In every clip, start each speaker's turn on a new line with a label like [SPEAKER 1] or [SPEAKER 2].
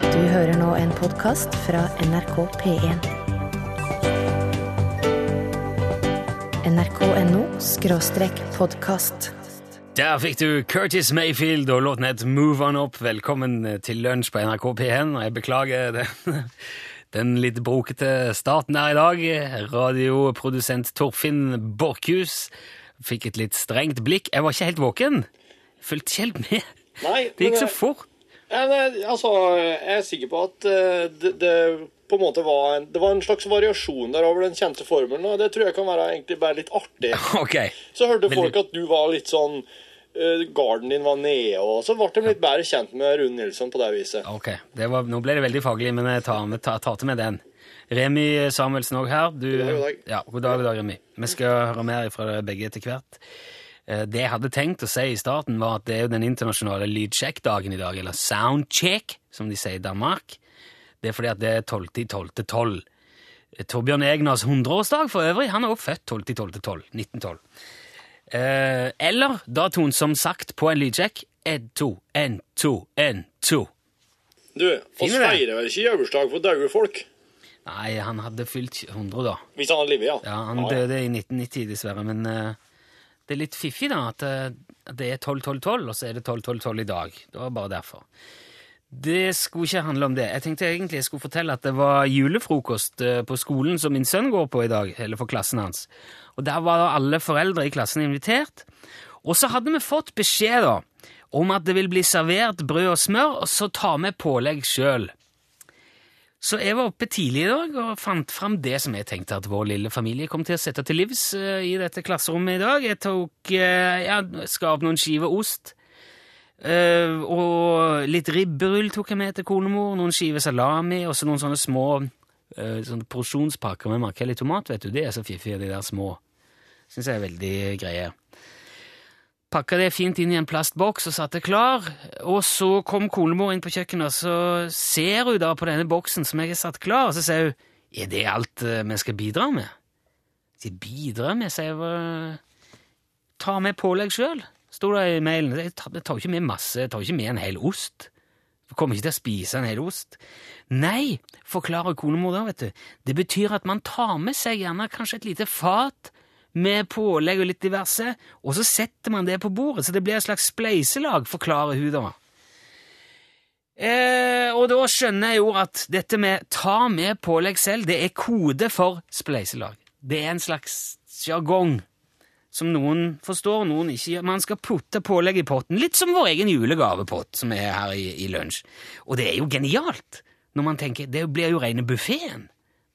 [SPEAKER 1] Du hører nå en podkast fra NRK P1. NRK.no skråstrek podkast.
[SPEAKER 2] Der fikk du Curtis Mayfield og låten het Move On Up. Velkommen eh, til lunsj på NRK P1. og Jeg beklager den, den litt brokete starten her i dag. Radioprodusent Torfinn Borchhus fikk et litt strengt blikk. Jeg var ikke helt våken. Fulgte ikke helt med.
[SPEAKER 3] Nei,
[SPEAKER 2] Det gikk
[SPEAKER 3] men-
[SPEAKER 2] så fort.
[SPEAKER 3] Ja, nei, altså, jeg er sikker på at eh, det, det på en måte var en, det var en slags variasjon der over den kjente formelen, og det tror jeg kan være egentlig bare litt artig.
[SPEAKER 2] Ok.
[SPEAKER 3] Så hørte
[SPEAKER 2] Veldig.
[SPEAKER 3] folk at du var litt sånn eh, Garden din var nede, og så ble de litt bedre kjent med Rune Nilsson på det viset.
[SPEAKER 2] Ok, det var, Nå ble det veldig faglig, men jeg tar, med, tar, tar til meg den. Remi Samuelsen òg her. Du,
[SPEAKER 3] God dag, god dag.
[SPEAKER 2] Ja, god dag, god dag, Remi. Vi skal høre mer fra dere begge etter hvert. Eh, Det jeg hadde tenkt å si i starten, var at det er jo den internasjonale lydsjekk-dagen i dag, eller soundcheck, som de sier i Danmark. Det er fordi at det er 12.12.12. Eh, Torbjørn Egners 100-årsdag for øvrig. Han er også født 12.12.12. 1912. Eh, eller datoen som sagt på en lydsjekk. 1, 2, 1, 2, 1, 2.
[SPEAKER 3] Du, oss
[SPEAKER 2] Finner det.
[SPEAKER 3] feirer vel ikke julebursdag for daue folk?
[SPEAKER 2] Nei, han hadde fylt 100 da.
[SPEAKER 3] Hvis han hadde livet, ja.
[SPEAKER 2] Ja, han
[SPEAKER 3] ja.
[SPEAKER 2] døde i 1990 dessverre, men eh, det er litt fiffig da at eh, at det er 12-12-12, og så er det 12-12-12 i dag. Det var bare derfor. Det skulle ikke handle om det. Jeg tenkte egentlig jeg skulle fortelle at det var julefrokost eh, på skolen som min sønn går på i dag, eller for klassen hans. Og der var alle foreldre i klassen invitert. Og så hadde vi fått beskjed da, om at det vil bli servert brød og smør, og så ta med pålegg sjøl. Så jeg var oppe tidlig i dag og fant fram det som jeg tenkte at vår lille familie kom til å sette til livs eh, i dette klasserommet i dag. Jeg tok eh, ja, skar opp noen skiver ost, eh, og litt ribberull tok jeg med til konemor, noen skiver salami, og så noen sånne små eh, sånne porsjonspakker med makrell i tomat, vet du. Det er så fiffige, de der små. Syns jeg er veldig greie. Pakka det fint inn i en plastboks og satte klar. Og så kom konemor inn på kjøkkenet, og så ser hun da på denne boksen som jeg har satt klar, og så sier hun Er det alt eh, vi skal bidra med? Jeg sier, bidra med, sier jeg. «Hva- Ta med pålegg sjøl, sto det i mailen. Jeg tar, jeg tar jo ikke med masse, jeg tar jo ikke med en hel ost. Jeg kommer ikke til å spise en hel ost. Nei, forklarer konemor da, vet du. Det betyr at man tar med seg gjerne kanskje et lite fat med pålegg og litt diverse, og så setter man det på bordet, så det blir et slags spleiselag, forklarer hun da. Eh, og da skjønner jeg jo at dette med ta med pålegg selv, det er kode for spleiselag. Det er en slags jargong som noen forstår, noen ikke gjør. Man skal putte pålegg i potten, litt som vår egen julegavepott som er her i, i lunsj. Og det er jo genialt, når man tenker, det blir jo rene buffeten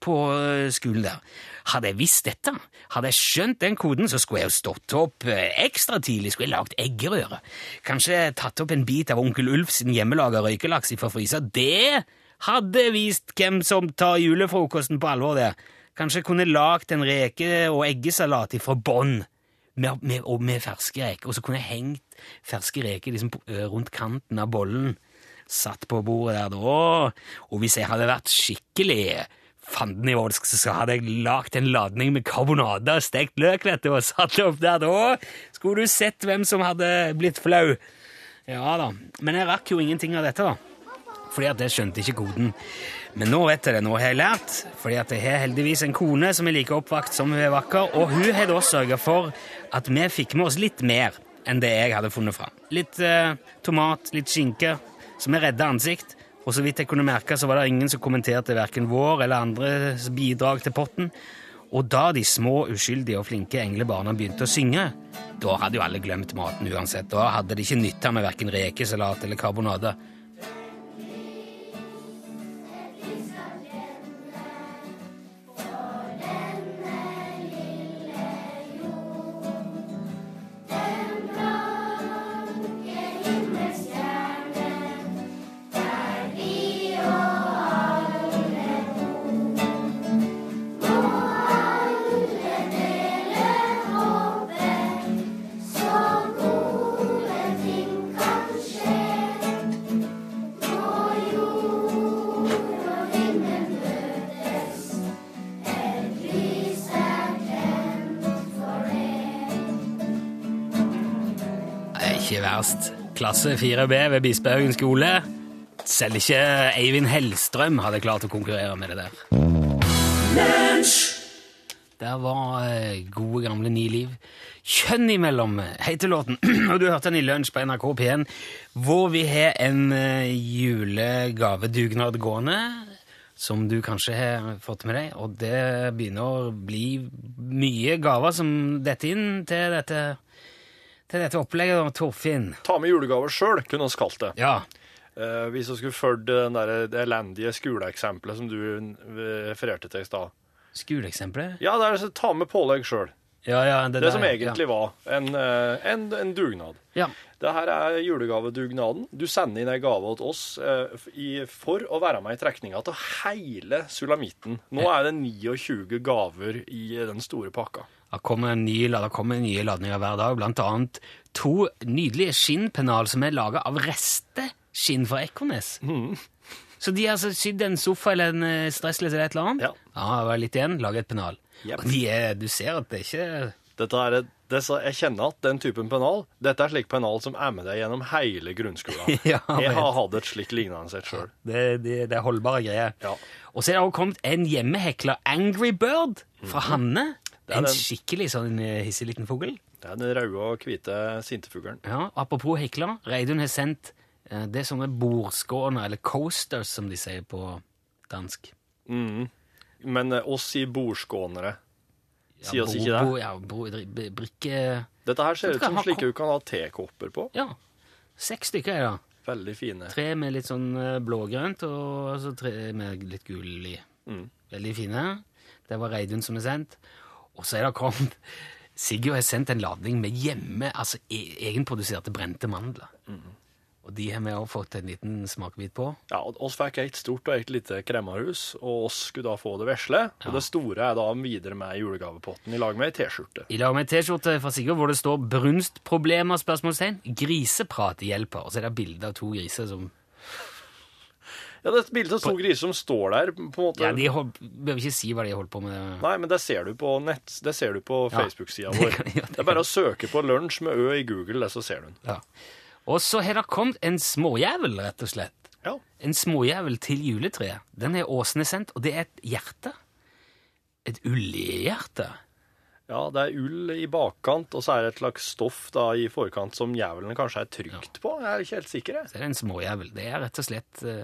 [SPEAKER 2] på eh, skolen der. Hadde jeg visst dette, hadde jeg skjønt den koden, så skulle jeg jo stått opp eh, ekstra tidlig, skulle jeg lagt eggerøre. Kanskje tatt opp en bit av onkel Ulf sin hjemmelaga røykelaks fra frysa. Det hadde vist hvem som tar julefrokosten på alvor, det. Kanskje kunne lagt en reke- og eggesalat fra bånn med, med, og med ferske reker, og så kunne jeg hengt ferske reker liksom, på- ø, rundt kanten av bollen, satt på bordet der da, og hvis jeg hadde vært skikkelig fandenivoldsk, så hadde jeg lagt en ladning med karbonade og stekt løk, vet du, og satt det opp der da, skulle du sett hvem som hadde blitt flau. Ja da, men jeg rakk jo ingenting av dette da. Fordi at jeg skjønte ikke koden. Men nå vet jeg det, nå har jeg lært. Fordi at jeg har heldigvis en kone som er like oppvakt som hun er vakker, og hun har da sørga for at vi fikk med oss litt mer enn det jeg hadde funnet fram. Litt eh, tomat, litt skinke, så vi redda ansikt. Og så vidt jeg kunne merke, så var det ingen som kommenterte verken vår eller andres bidrag til potten. Og da de små, uskyldige og flinke englebarna begynte å synge, da hadde jo alle glemt maten uansett. Da hadde det ikke nytta med verken rekesalat eller karbonade. Ikke verst. Klasse 4B ved Bispehaugen skole. Selv ikke Eivind Hellstrøm hadde klart å konkurrere med det der. Der var eh, gode, gamle Ni Liv. Kjønn imellom eh, heter låten, og du hørte den i lunsj på NRK P1, hvor vi har en eh, julegavedugnad gående, som du kanskje har fått med deg, og det begynner å bli mye gaver som detter inn til dette, til dette opplegget, da, Torfinn.
[SPEAKER 4] Ta med julegaver sjøl, kunne vi kalt det.
[SPEAKER 2] Ja,
[SPEAKER 4] Eh, hvis vi skulle fulgt den der- det elendige skoleeksempelet som du eh, refererte til i stad.
[SPEAKER 2] skoleeksempler.
[SPEAKER 4] Ja, det er altså ta med pålegg sjøl.
[SPEAKER 2] Ja, ja, det,
[SPEAKER 4] Det
[SPEAKER 2] der,
[SPEAKER 4] som
[SPEAKER 2] ja.
[SPEAKER 4] egentlig var en, eh, en, en dugnad.
[SPEAKER 2] Ja.
[SPEAKER 4] Det her er julegavedugnaden. Du sender inn ei gave til oss eh, f- i, for å være med i trekninga til hele sulamitten. Nå er det 29 gaver i den store pakka.
[SPEAKER 2] Det kommer, en ny, det kommer nye ladninger hver dag, blant annet to nydelige skinnpennal som er laget av resteskinn fra Ekornes.
[SPEAKER 4] Mhm.
[SPEAKER 2] Så de har altså sydd en sofa eller en eh, stressless eller et eller annet.
[SPEAKER 4] Ja.
[SPEAKER 2] det var litt igjen, laget et pennal.
[SPEAKER 4] Jep.
[SPEAKER 2] Og de er, du ser at det er ikke...
[SPEAKER 4] Dette er, et- det, så jeg kjenner at den typen pennal Dette er slik pennal som er med deg gjennom hele grunnskolen.
[SPEAKER 2] Ja,
[SPEAKER 4] jeg
[SPEAKER 2] vet.
[SPEAKER 4] har hatt et slikt lignende sett sjøl.
[SPEAKER 2] Det, det, det er holdbare greier.
[SPEAKER 4] Ja.
[SPEAKER 2] Og så er det også kommet en hjemmehekla Angry Bird fra Hanne.
[SPEAKER 4] Mhm. er
[SPEAKER 2] En
[SPEAKER 4] den.
[SPEAKER 2] skikkelig sånn eh, hissig liten fogel.
[SPEAKER 4] Det er den røde og hvite sintefuglen.
[SPEAKER 2] Ja, apropos hekla, Reidun har sendt eh, det er sånne bordskåner, eller coasters som de sier på dansk.
[SPEAKER 4] Men eh, oss i bordskånere
[SPEAKER 2] Ja,
[SPEAKER 4] sier oss
[SPEAKER 2] bo-
[SPEAKER 4] ikke det.
[SPEAKER 2] bo- Ja, bo, dri- b- brikke...
[SPEAKER 4] Dette her
[SPEAKER 2] Så
[SPEAKER 4] ser ut
[SPEAKER 2] skal
[SPEAKER 4] som
[SPEAKER 2] jeg ha
[SPEAKER 4] slike du kan ha tekopper på.
[SPEAKER 2] Ja, seks stykker er det.
[SPEAKER 4] Veldig fine.
[SPEAKER 2] Tre med litt sånn eh, blågrønt, og så tre med litt gul i.
[SPEAKER 4] Mm.
[SPEAKER 2] Veldig fine. Det var Reidun som er sendt. Og så er det kommet... Sigurd har sendt en ladning med hjemme, altså e- egenproduserte brente mandler.
[SPEAKER 4] Mm.
[SPEAKER 2] Og de har vi også fått en liten smakebit på.
[SPEAKER 4] Ja, og oss fikk et stort og et lite kremmerhus, og oss skulle da få det vesle. Og det store er da videre med i julegavepotten i lag med ei T-skjorte.
[SPEAKER 2] I lag med en T-skjorte fra Sigurd hvor det står 'brunstproblemer?' spørsmålstegn. 'Griseprat hjelper'. Og så er det bilde av to griser som
[SPEAKER 4] Ja, det er et bilde av to griser som står der, på en måte.
[SPEAKER 2] Ja, De hold, behøver ikke si hva de holdt på med.
[SPEAKER 4] Nei, men det ser du på nett, det ser du på
[SPEAKER 2] Ja.
[SPEAKER 4] Facebook-sida
[SPEAKER 2] Det
[SPEAKER 4] vår.
[SPEAKER 2] kan- ja, det
[SPEAKER 4] Det er bare å søke på 'lunsj med ø' i Google, det så ser du den.
[SPEAKER 2] Ja. Og så har det kommet en småjævel, rett og slett.
[SPEAKER 4] Ja.
[SPEAKER 2] En småjævel til juletreet. Den er Åsne sendt, og det er et hjerte. Et ullehjerte.
[SPEAKER 4] ja, det er ull i bakkant, og så er det et slags stoff da i forkant som jævelen kanskje er trygt på. Jeg er ikke helt sikker, jeg.
[SPEAKER 2] Så er det en småjævel. Det er rett og slett eh,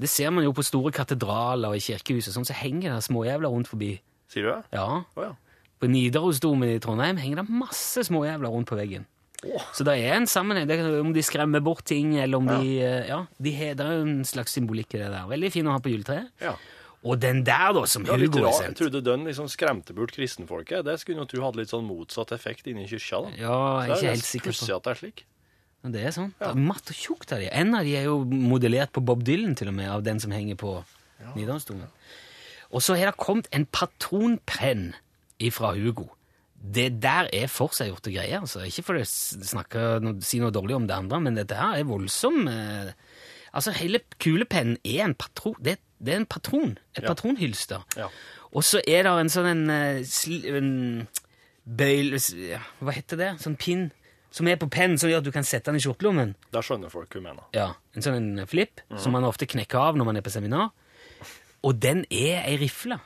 [SPEAKER 2] Det ser man jo på store katedraler og i kirkehus og sånn, så henger det småjævler rundt forbi.
[SPEAKER 4] Sier du det?
[SPEAKER 2] Ja.
[SPEAKER 4] Å ja.
[SPEAKER 2] På Nidarosdomen i Trondheim henger det masse småjævler rundt på veggen.
[SPEAKER 4] Åh.
[SPEAKER 2] Så det er en sammenheng. Det kan, om de skremmer bort ting, eller om de eh, Ja, de har, det er jo en slags symbolikk i det der. Veldig fin å ha på juletreet.
[SPEAKER 4] Ja.
[SPEAKER 2] Og den der, da, som
[SPEAKER 4] Ja, litt
[SPEAKER 2] Hugo har
[SPEAKER 4] rar.
[SPEAKER 2] sendt.
[SPEAKER 4] Jeg trodde den liksom skremte bort kristenfolket. Det skulle jo tro hadde litt sånn motsatt effekt inni kyrkja. da.
[SPEAKER 2] Ja, jeg er ikke helt sikker
[SPEAKER 4] Pussig
[SPEAKER 2] på
[SPEAKER 4] at det er slik.
[SPEAKER 2] Men Det er sånn. Det er matt og tjukt av de. En av de er jo modellert på Bob Dylan, til og med, av den som henger på Nidarosdomen. Og så har det kommet en patronpenn ifra Hugo. Det der er forseggjorte greier. altså. Ikke for å s- snakke, noe- si noe dårlig om det andre, men dette her er voldsom eh, Altså, hele kulepennen er en patron. Det, det er en patron. Et patronhylster.
[SPEAKER 4] Ja.
[SPEAKER 2] Og så er det en sånn en, eh, sli, en bøyle s- ja, Hva heter det? Sånn pinn som er på pennen, som gjør at du kan sette den i skjortelommen.
[SPEAKER 4] Der skjønner folk hva jeg mener.
[SPEAKER 2] Ja, En sånn en flipp,
[SPEAKER 4] Mm.
[SPEAKER 2] som man ofte knekker av når man er på seminar. Og den er ei rifle.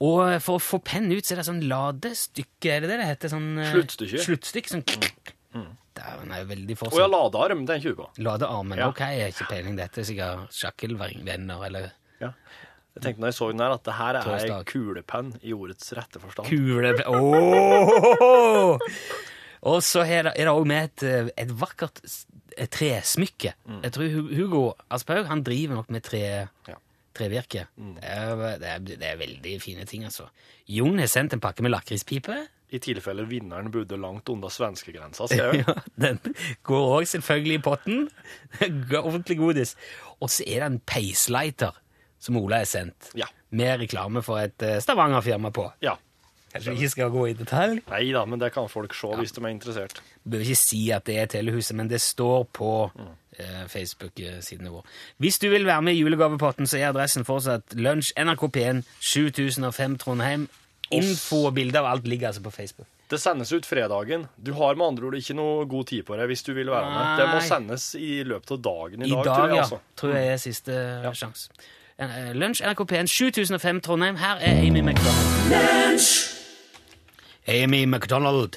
[SPEAKER 2] Og for å få pennen ut, så er det sånn ladestykke Er det det det heter? Sånn, eh,
[SPEAKER 4] Sluttstykke. Mm.
[SPEAKER 2] Sluttstykke, sånn Dæven, er jo veldig
[SPEAKER 4] Å ja,
[SPEAKER 2] forskjell.
[SPEAKER 4] ladearm, tenker du på.
[SPEAKER 2] Ladearmen.
[SPEAKER 4] Ja.
[SPEAKER 2] Ok, jeg har ikke peiling. Dette er sikkert sjakkelvenner eller
[SPEAKER 4] Ja. Jeg tenkte når jeg så den her, at det her er ei
[SPEAKER 2] Torsdag.
[SPEAKER 4] kulepenn i ordets rette forstand.
[SPEAKER 2] Kule Ååå! Og så er det er det også med et, eh, et vakkert s- et tresmykke. Jeg tror Hu- Hugo Asphaug han driver nok med tre,
[SPEAKER 4] Ja.
[SPEAKER 2] trevirke. Det, er, det, er, det er veldig fine ting, altså. Jon har sendt en pakke med lakrispipe.
[SPEAKER 4] I tilfelle vinneren bodde langt unna svenskegrensa, ser jeg.
[SPEAKER 2] Ja, den går òg selvfølgelig i potten. Ordentlig godis. Og så er det en peislighter som Ola har sendt,
[SPEAKER 4] Ja.
[SPEAKER 2] med reklame for et eh, Stavanger-firma på.
[SPEAKER 4] Ja.
[SPEAKER 2] Kanskje vi ikke skal gå i detalj?
[SPEAKER 4] Nei da, men det kan folk se hvis de er interessert.
[SPEAKER 2] behøver ikke si at det er Telehuset, men det står på eh, Facebook-siden vår. Hvis du vil være med i julegavepotten, så er adressen fortsatt lunsj, NRK P1, 7005 Trondheim. Infobildet av alt ligger altså på Facebook.
[SPEAKER 4] Det sendes ut fredagen. Du har med andre ord ikke noe god tid på deg hvis du vil være med. Det må
[SPEAKER 2] Nei.
[SPEAKER 4] sendes i løpet av dagen i,
[SPEAKER 2] I dag,
[SPEAKER 4] tror jeg.
[SPEAKER 2] ja.
[SPEAKER 4] altså.
[SPEAKER 2] Tror jeg er siste sjanse. Eh, Lunsj, NRK P1, 7005 Trondheim. Her er Amy McDonald. Amy McDonald.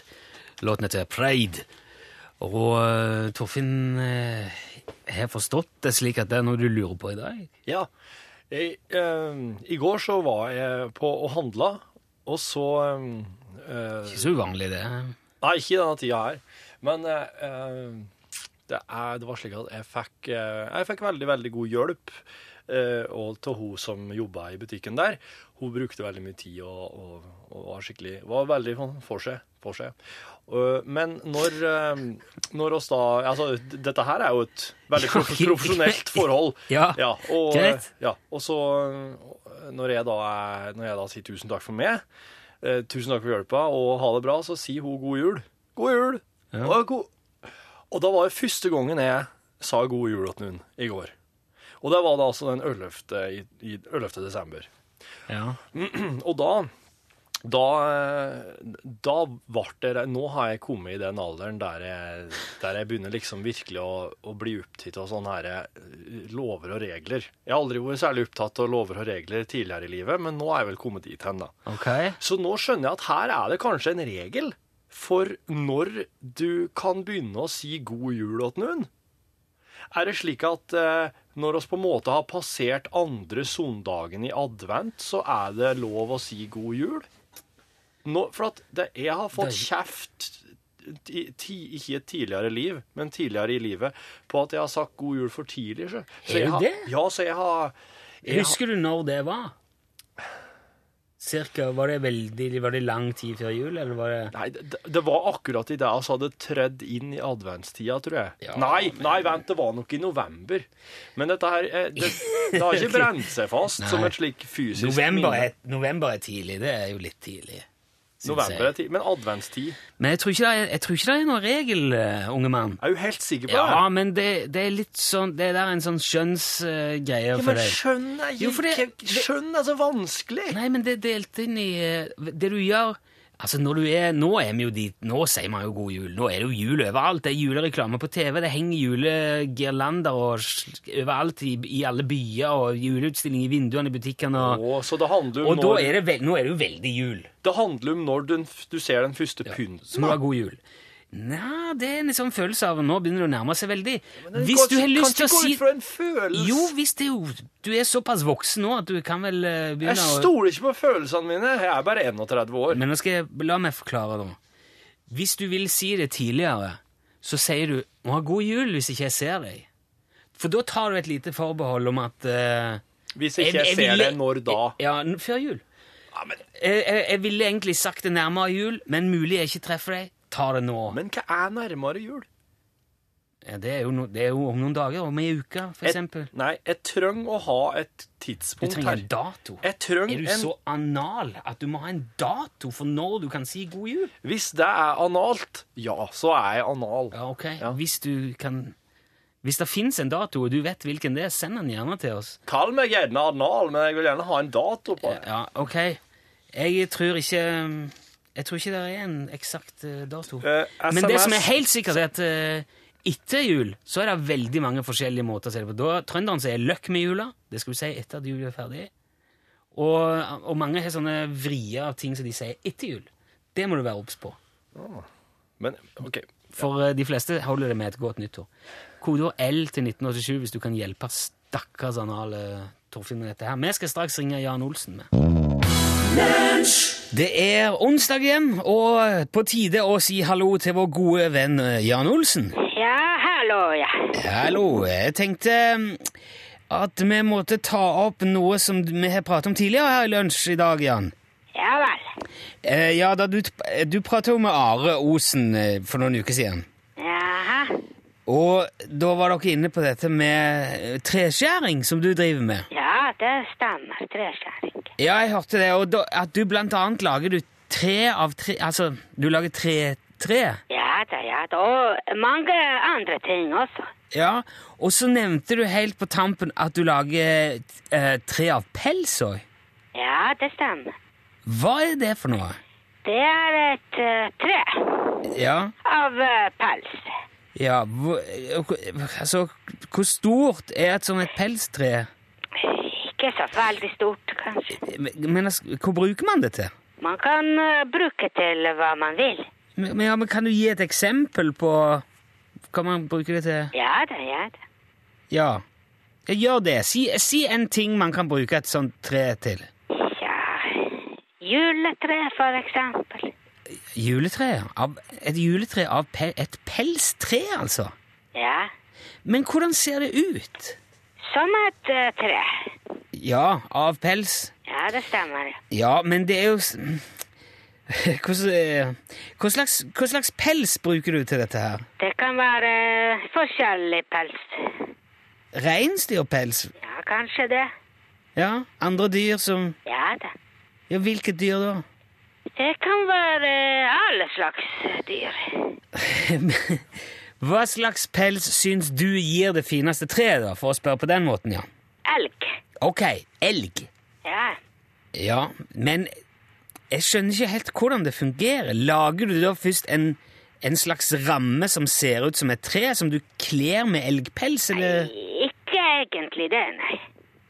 [SPEAKER 2] Låten heter Pride. Og eh, Torfinn eh, har forstått det slik at det er noe du lurer på i dag.
[SPEAKER 4] Ja. Jeg, eh, I går så var jeg på og handla, og så eh, eh,
[SPEAKER 2] Ikke så uvanlig, det.
[SPEAKER 4] Nei, ikke i denne tida her. Men eh, eh, det, er, det var slik at jeg fikk, eh, jeg fikk veldig, veldig god hjelp. eh, og til hun som jobba i butikken der. Hun brukte veldig mye tid og, og, og var skikkelig Var veldig sånn for seg. For seg. Eh, men når, eh, når oss da Altså, d- dette her er jo et veldig
[SPEAKER 2] Ja,
[SPEAKER 4] prof- profesjonelt forhold.
[SPEAKER 2] Ja,
[SPEAKER 4] og,
[SPEAKER 2] greit.
[SPEAKER 4] Ja, og så eh, når jeg, da er, når jeg da sier tusen takk for meg, Eh, tusen takk for hjelpa, og ha det bra. Så sier hun god jul. God jul! Og, god... og da var det første gangen jeg sa god jul til noen i går. Og det var da altså den 11. I, i 11. desember.
[SPEAKER 2] Ja.
[SPEAKER 4] Og da da, da ble det Nå har jeg kommet i den alderen der jeg, der jeg begynner liksom virkelig å, å bli opptatt av sånne her eh, lover og regler. Jeg har aldri vært særlig opptatt av lover og regler tidligere i livet, men nå er jeg vel kommet dit hen, da.
[SPEAKER 2] Ok.
[SPEAKER 4] Så nå skjønner jeg at her er det kanskje en regel for når du kan begynne å si god jul til noen. Er det slik at eh, når oss på en måte har passert andre søndagen i advent, så er det lov å si god jul? Nå, for at det, jeg har fått kjeft i, ti, ikke i et tidligere liv, men tidligere i livet, på at jeg har sagt god jul for tidlig. Så, så
[SPEAKER 2] Er
[SPEAKER 4] jeg
[SPEAKER 2] du
[SPEAKER 4] har-
[SPEAKER 2] det?
[SPEAKER 4] Ja, så jeg har jeg har-
[SPEAKER 2] Husker du når det var? Cirka, var det veldig, var det lang tid før jul, eller var det...
[SPEAKER 4] Nei, det, det var akkurat i det altså hadde tredd inn i adventstida, tror jeg.
[SPEAKER 2] Ja,
[SPEAKER 4] nei, nei, vent, det var nok i november. Men dette her eh, Det, det har ikke brent seg fast som
[SPEAKER 2] Nei.
[SPEAKER 4] et slik fysisk
[SPEAKER 2] November
[SPEAKER 4] minne.
[SPEAKER 2] er, november er tidlig, det er jo litt tidlig. synes
[SPEAKER 4] november
[SPEAKER 2] jeg.
[SPEAKER 4] er tid, Men adventstid
[SPEAKER 2] Men jeg tror ikke det er, jeg tror ikke det er noen regel, eh, unge mann.
[SPEAKER 4] er jo helt sikker på
[SPEAKER 2] Ja,
[SPEAKER 4] det.
[SPEAKER 2] men det, det er litt sånn Det der er en sånn skjønnsgreie
[SPEAKER 4] Ja,
[SPEAKER 2] for
[SPEAKER 4] men
[SPEAKER 2] deg.
[SPEAKER 4] skjønn er,
[SPEAKER 2] Jo, for det-
[SPEAKER 4] ikke- skjønn er så vanskelig!
[SPEAKER 2] Nei, men det er delt inn i eh, Det du gjør Altså, når du er Nå er vi jo dit Nå sier man jo god jul. Nå er det jo jul overalt. Det er julereklame på TV, det henger julegirlander og sl- overalt i, i alle byer, og juleutstilling i vinduene i butikkene. Og,
[SPEAKER 4] Å, så det handler om
[SPEAKER 2] og da
[SPEAKER 4] når,
[SPEAKER 2] er det vel, nå er det jo veldig jul.
[SPEAKER 4] det handler om når du, du ser den første
[SPEAKER 2] Så
[SPEAKER 4] pynten.
[SPEAKER 2] må du
[SPEAKER 4] da.
[SPEAKER 2] ha god jul. Nei, det er en sånn følelse av Nå begynner det å nærme seg veldig.
[SPEAKER 4] Men
[SPEAKER 2] Hvis
[SPEAKER 4] kan-
[SPEAKER 2] du har lyst til å
[SPEAKER 4] Kan ikke
[SPEAKER 2] si
[SPEAKER 4] gå ut fra en følelse.
[SPEAKER 2] Jo, hvis det er jo Du er såpass voksen nå at du kan vel eh,
[SPEAKER 4] jeg
[SPEAKER 2] begynne å
[SPEAKER 4] stoler ikke på følelsene mine. Jeg er bare 31 år.
[SPEAKER 2] Men nå skal jeg La meg forklare, da. Hvis du vil si det tidligere, så sier du 'Må ha god jul' hvis ikke jeg ser deg. For da tar du et lite forbehold om at eh,
[SPEAKER 4] Hvis ikke jeg, ser
[SPEAKER 2] ville-
[SPEAKER 4] det, når da?
[SPEAKER 2] Ja, n- før jul.
[SPEAKER 4] Ja, men,
[SPEAKER 2] Jeg, jeg, jeg ville egentlig sagt det nærmere jul, men mulig jeg ikke treffer deg. Ta det nå.
[SPEAKER 4] men hva er nærmere jul?
[SPEAKER 2] Ja, det, er jo no, det er jo om noen dager, om ei uke, for eksempel.
[SPEAKER 4] nei, jeg trenger å ha et
[SPEAKER 2] Du
[SPEAKER 4] tidspunkt
[SPEAKER 2] trenger
[SPEAKER 4] her.
[SPEAKER 2] en dato.
[SPEAKER 4] Jeg trenger
[SPEAKER 2] Er du
[SPEAKER 4] en,
[SPEAKER 2] så anal at du må ha en dato for når du kan si god jul?
[SPEAKER 4] Hvis det er analt, ja, så er jeg anal.
[SPEAKER 2] Ja, ok.
[SPEAKER 4] Ja.
[SPEAKER 2] Hvis du kan... Hvis det finnes en dato, og du vet hvilken det er, send den gjerne til oss.
[SPEAKER 4] Kall meg gjerne anal, men jeg vil gjerne ha en dato på det.
[SPEAKER 2] Ja, ok. Jeg tror ikke... Jeg tror ikke det er en eksakt eh, dato.
[SPEAKER 4] Eh, SMS
[SPEAKER 2] Men det som er helt sikkert er at eh, etter jul, så er det veldig mange forskjellige måter å se det på. Da, trønderen sier løkk med jula, det skal du si etter at jul er ferdig. Og, og mange har sånne vrier av ting som de sier etter jul. Det må du være obs på.
[SPEAKER 4] Men OK.
[SPEAKER 2] For eh, de fleste holder det med et godt nyttår. Kodeord L til 1987 hvis du kan hjelpe stakkars anale Torfinn med dette her. Vi skal straks ringe Jan Olsen med. Det er onsdag igjen, og på tide å si hallo til vår gode venn eh, Jan Olsen.
[SPEAKER 5] Ja, hallo, ja.
[SPEAKER 2] Hallo. Jeg tenkte mm, at vi måtte ta opp noe som vi har pratet om tidligere her i lunsj i dag, Jan.
[SPEAKER 5] Ja vel.
[SPEAKER 2] Eh, ja, da du, du pratet jo med Are Osen eh, for noen uker siden.
[SPEAKER 5] Jaha.
[SPEAKER 2] Og da var dere inne på dette med eh, treskjæring som du driver med.
[SPEAKER 5] Ja, det stemmer. Treskjæring.
[SPEAKER 2] Ja, jeg hørte det, og da, at du blant annet lager du tre av tre Altså, du lager tre tre.
[SPEAKER 5] Ja da, ja da. Og mange andre ting også.
[SPEAKER 2] Ja, og så nevnte du helt på tampen at du lager eh, tre av pels òg.
[SPEAKER 5] Ja, det stemmer.
[SPEAKER 2] Hva er det for noe?
[SPEAKER 5] Det er et eh, tre
[SPEAKER 2] Ja,
[SPEAKER 5] av eh, pels.
[SPEAKER 2] ja hvor, Altså, hvor stort er et sånt et pelstre?
[SPEAKER 5] Ikke så veldig stort, kanskje.
[SPEAKER 2] Men altså, hvor bruker man det til?
[SPEAKER 5] Man kan eh, bruke til hva man vil.
[SPEAKER 2] Men, ja, men kan du gi et eksempel på hva man bruker det til?
[SPEAKER 5] Ja da, ja da.
[SPEAKER 2] Ja. Ja, Gjør det. Si, si en ting man kan bruke et sånt tre til.
[SPEAKER 5] Ja, juletre for eksempel.
[SPEAKER 2] Juletre? Av, et juletre av pe, et pelstre, altså?
[SPEAKER 5] Ja,
[SPEAKER 2] Men hvordan ser det ut?
[SPEAKER 5] som et eh, tre.
[SPEAKER 2] Ja, av pels.
[SPEAKER 5] Ja, det stemmer.
[SPEAKER 2] Ja, men det er jo s- Hvordan, eh, hva, slags, hva slags pels bruker du til dette her?
[SPEAKER 5] Det kan være eh, forskjellig pels.
[SPEAKER 2] Reinsdyrpels?
[SPEAKER 5] Ja, kanskje det.
[SPEAKER 2] Ja, andre dyr som
[SPEAKER 5] Ja da.
[SPEAKER 2] Ja, hvilke dyr da?
[SPEAKER 5] Det kan være eh, alle slags dyr.
[SPEAKER 2] Hva slags pels syns du gir det fineste treet, da, for å spørre på den måten, ja?
[SPEAKER 5] Elg.
[SPEAKER 2] Ok, elg.
[SPEAKER 5] Ja.
[SPEAKER 2] Ja, men jeg skjønner ikke helt hvordan det fungerer. Lager du da først en, en slags ramme som ser ut som et tre, som du kler med elgpels, eller
[SPEAKER 5] Ikke egentlig det, nei.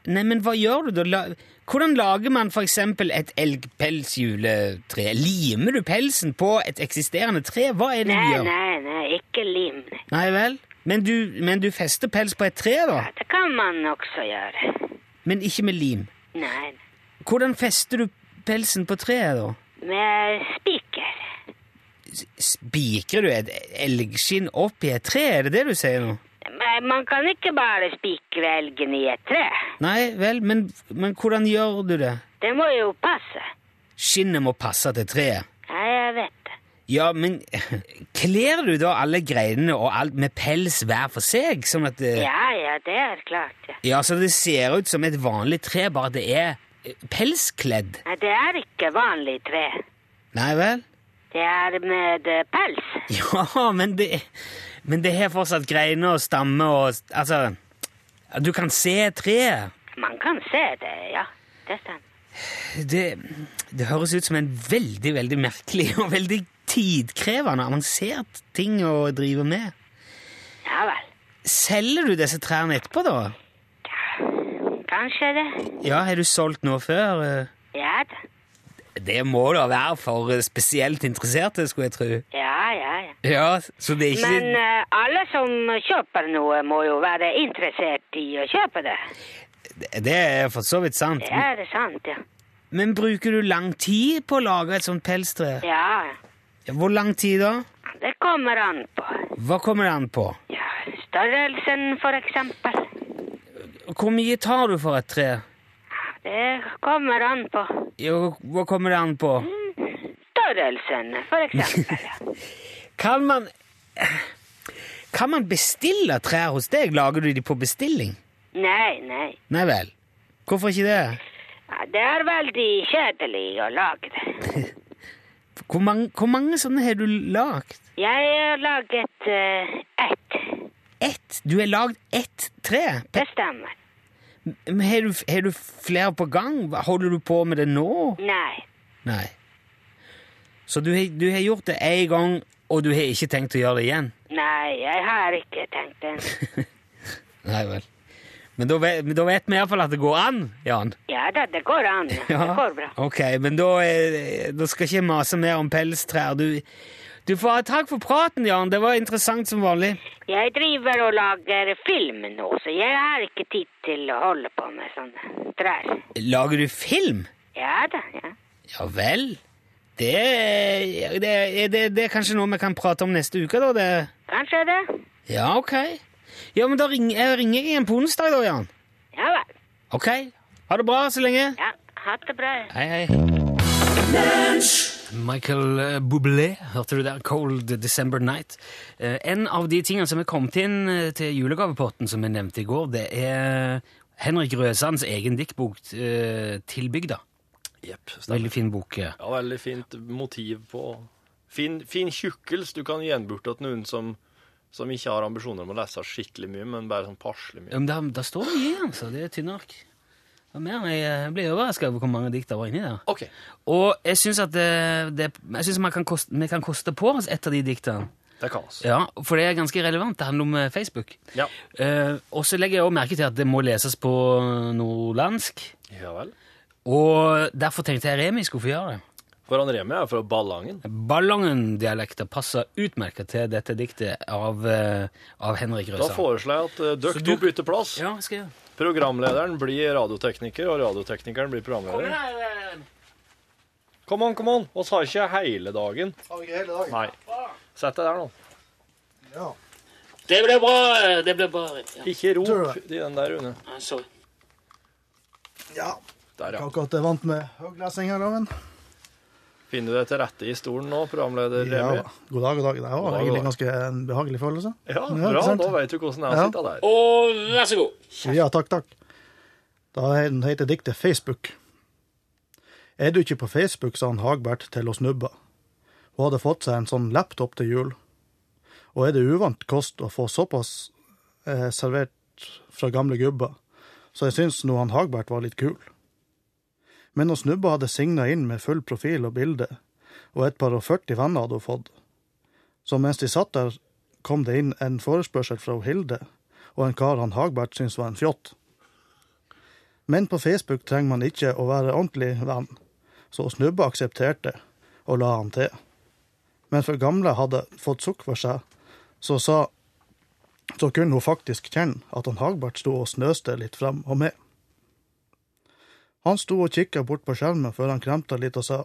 [SPEAKER 2] Nei, men hva gjør du da? La... Hvordan lager man for eksempel et elgpelsjuletre? Limer du pelsen på et eksisterende tre? Hva er det du
[SPEAKER 5] Nei,
[SPEAKER 2] gjør?
[SPEAKER 5] nei, nei, ikke lim. nei.
[SPEAKER 2] Nei vel? Men du, men du fester pels på et tre, da?
[SPEAKER 5] Ja, det kan man også gjøre.
[SPEAKER 2] Men ikke med lim?
[SPEAKER 5] Nei, nei.
[SPEAKER 2] Hvordan fester du pelsen på treet, da?
[SPEAKER 5] med spiker.
[SPEAKER 2] Spikrer du et elgskinn opp i et tre? Er det det du sier nå?
[SPEAKER 5] Men man kan ikke bare spikre elgen i et tre.
[SPEAKER 2] Nei vel, men, men hvordan gjør du det?
[SPEAKER 5] Det må jo passe.
[SPEAKER 2] Skinnet må passe til treet.
[SPEAKER 5] Ja, jeg vet det.
[SPEAKER 2] Ja, men kler du da alle greinene og alt med pels hver for seg? Sånn at det,
[SPEAKER 5] Ja, ja, det er klart, ja.
[SPEAKER 2] Ja, så det ser ut som et vanlig tre, bare det er eh, pelskledd.
[SPEAKER 5] Nei, det er ikke vanlig tre.
[SPEAKER 2] Nei vel?
[SPEAKER 5] Det er med eh, pels.
[SPEAKER 2] Ja, men det Men det har fortsatt greiner og stamme og Altså Du kan se treet.
[SPEAKER 5] Man kan se det, ja. Det stemmer.
[SPEAKER 2] Det, det høres ut som en veldig, veldig merkelig og veldig tidkrevende, avansert ting å drive med.
[SPEAKER 5] Ja vel.
[SPEAKER 2] Selger du disse trærne etterpå, da?
[SPEAKER 5] Kanskje det.
[SPEAKER 2] Ja, har du solgt noe før? eh?
[SPEAKER 5] Ja da.
[SPEAKER 2] Det må da være for eh, spesielt interesserte, skulle jeg tro.
[SPEAKER 5] Ja, ja, ja.
[SPEAKER 2] Ja, så det er ikke
[SPEAKER 5] Men eh, alle som kjøper noe må jo være interessert i å kjøpe det.
[SPEAKER 2] Det er for så vidt sant.
[SPEAKER 5] Det er sant, ja.
[SPEAKER 2] Men bruker du lang tid på å lage et sånt pelstre?
[SPEAKER 5] Ja,
[SPEAKER 2] Hvor lang tid da?
[SPEAKER 5] det kommer an på.
[SPEAKER 2] Hva kommer det an på?
[SPEAKER 5] Ja, størrelsen, for eksempel.
[SPEAKER 2] Hvor mye tar du for et tre?
[SPEAKER 5] Det kommer an på.
[SPEAKER 2] Jo, hva kommer det an på?
[SPEAKER 5] Størrelsen, for eksempel. ja.
[SPEAKER 2] Kan man Kan man bestille trær hos deg? Lager du de på bestilling?
[SPEAKER 5] Nei, nei.
[SPEAKER 2] Nei vel. Hvorfor ikke det?
[SPEAKER 5] Ja, Det er veldig kjedelig å lage det.
[SPEAKER 2] Hvor mange, hvor mange sånne har du lagd?
[SPEAKER 5] Jeg har laget eh, ett.
[SPEAKER 2] Ett? Du har lagd ett tre? Pe-
[SPEAKER 5] Det stemmer.
[SPEAKER 2] Men Har du, har du flere på gang? Hva- Holder du på med det nå?
[SPEAKER 5] Nei.
[SPEAKER 2] Nei. Så du har, du har gjort det én gang, og du har ikke tenkt å gjøre det igjen?
[SPEAKER 5] Nei, jeg har ikke tenkt det.
[SPEAKER 2] Nei vel. Men da vet, men da vet vi iallfall at det går an, Jan.
[SPEAKER 5] Ja da, det går an. Det går bra.
[SPEAKER 2] Ok, men da, eh, da skal ikke jeg mase mer om pelstrær. Du, du får ha takk for praten, Jan. Det var interessant som vanlig.
[SPEAKER 5] Jeg driver og lager film nå, så jeg har ikke tid til å holde på med sånne trær.
[SPEAKER 2] Lager du film?
[SPEAKER 5] Ja da, ja.
[SPEAKER 2] Ja vel. Det, er- det, er- det, det er kanskje noe vi kan prate om neste uke, da. Det.
[SPEAKER 5] Kanskje det.
[SPEAKER 2] Ja, ok. Ja, men da ringer jeg ringer igjen på onsdag, da, Jan.
[SPEAKER 5] Ja vel.
[SPEAKER 2] Ok. Ha det bra så lenge.
[SPEAKER 5] Ja, ha det bra. ja.
[SPEAKER 2] Hei, hei. Michael eh, Bublé, hørte du der? Cold December Night. Eh, En av de tingene som er kommet inn eh, til julegavepotten, som jeg nevnte i går, det er Henrik Røsands egen diktbok eh, 'Til bygda'.
[SPEAKER 6] Jepp. stemmer.
[SPEAKER 2] Veldig fin bok. eh.
[SPEAKER 6] Ja, veldig fint motiv på Fin, fin tjukkels du kan gjenburte til noen som, som ikke har ambisjoner om å lese skikkelig mye, men bare sånn passelig mye.
[SPEAKER 2] Ja, Men der, der står det mye, altså. Det er tynne ark. Det var mer enn jeg eh, ble overraska over hvor mange dikt det var inni der.
[SPEAKER 4] OK.
[SPEAKER 2] Og jeg syns at det, det, jeg synes man kan koste, vi kan koste på oss et av de diktene.
[SPEAKER 4] Det kan oss.
[SPEAKER 2] Ja, For det er ganske relevant. Det handler om eh, Facebook.
[SPEAKER 4] Ja.
[SPEAKER 2] Eh, og så legger jeg også merke til at det må leses på nordlandsk.
[SPEAKER 4] Ja vel.
[SPEAKER 2] Og derfor tenkte jeg Remi skulle få gjøre det.
[SPEAKER 4] For han Remi er fra Ballangen.
[SPEAKER 2] Ballangen-dialekter passer utmerket til dette diktet av, eh, av Henrik
[SPEAKER 4] Da
[SPEAKER 2] Røsa.
[SPEAKER 4] foreslår jeg at eh,
[SPEAKER 2] Så
[SPEAKER 4] dere
[SPEAKER 2] du-
[SPEAKER 4] to bytter plass.
[SPEAKER 2] Ja, skal jeg gjøre.
[SPEAKER 4] Programlederen blir radiotekniker, og radioteknikeren blir programleder.
[SPEAKER 2] eh.
[SPEAKER 4] Kom on, kom on! Oss har ikke hele dagen.
[SPEAKER 7] Har vi ikke hele dagen?
[SPEAKER 4] Nei. Sett deg der nå.
[SPEAKER 7] Ja.
[SPEAKER 2] Det ble bra! Det ble bra.
[SPEAKER 4] Ikke
[SPEAKER 7] Tror
[SPEAKER 4] rop i
[SPEAKER 7] du
[SPEAKER 4] den der, Une.
[SPEAKER 2] sorry.
[SPEAKER 7] ja.
[SPEAKER 4] Der, ja.
[SPEAKER 7] Ikke akkurat vant med høglesing her, da, men
[SPEAKER 4] Finner du deg til rette i stolen nå, programleder
[SPEAKER 7] ja.
[SPEAKER 4] Remi?
[SPEAKER 7] God dag, god dag. Det
[SPEAKER 4] God
[SPEAKER 7] var
[SPEAKER 4] dag,
[SPEAKER 7] egentlig
[SPEAKER 4] god dag.
[SPEAKER 7] ganske en behagelig følelse.
[SPEAKER 4] Ja,
[SPEAKER 7] ikke
[SPEAKER 4] bra.
[SPEAKER 7] sant?
[SPEAKER 4] Da vet du hvordan det er å
[SPEAKER 7] Ja.
[SPEAKER 4] sitte der.
[SPEAKER 2] Og vær så god.
[SPEAKER 7] Ja, takk, takk. Da heter diktet Facebook. Er du ikke på Facebook, sa han Hagbert til å snubbe. Hun hadde fått seg en sånn laptop til jul. Og er det uvant kost å få såpass eh, servert fra gamle gubber, så jeg syns nå han Hagbert var litt kul. Men hun snubba hadde signa inn med full profil og bilde, og et par og 40 venner hadde hun fått. Så mens de satt der, kom det inn en forespørsel fra Hilde, og en kar han Hagbert syntes var en fjott. Men på Facebook trenger man ikke å være ordentlig venn, så Snubbe aksepterte og la han til. Men for gamle hadde fått sukk for seg, så sa så kunne hun faktisk kjenne at han Hagbert sto og snøste litt frem og med. Han sto og kikka bort på skjermen før han kremta litt og sa,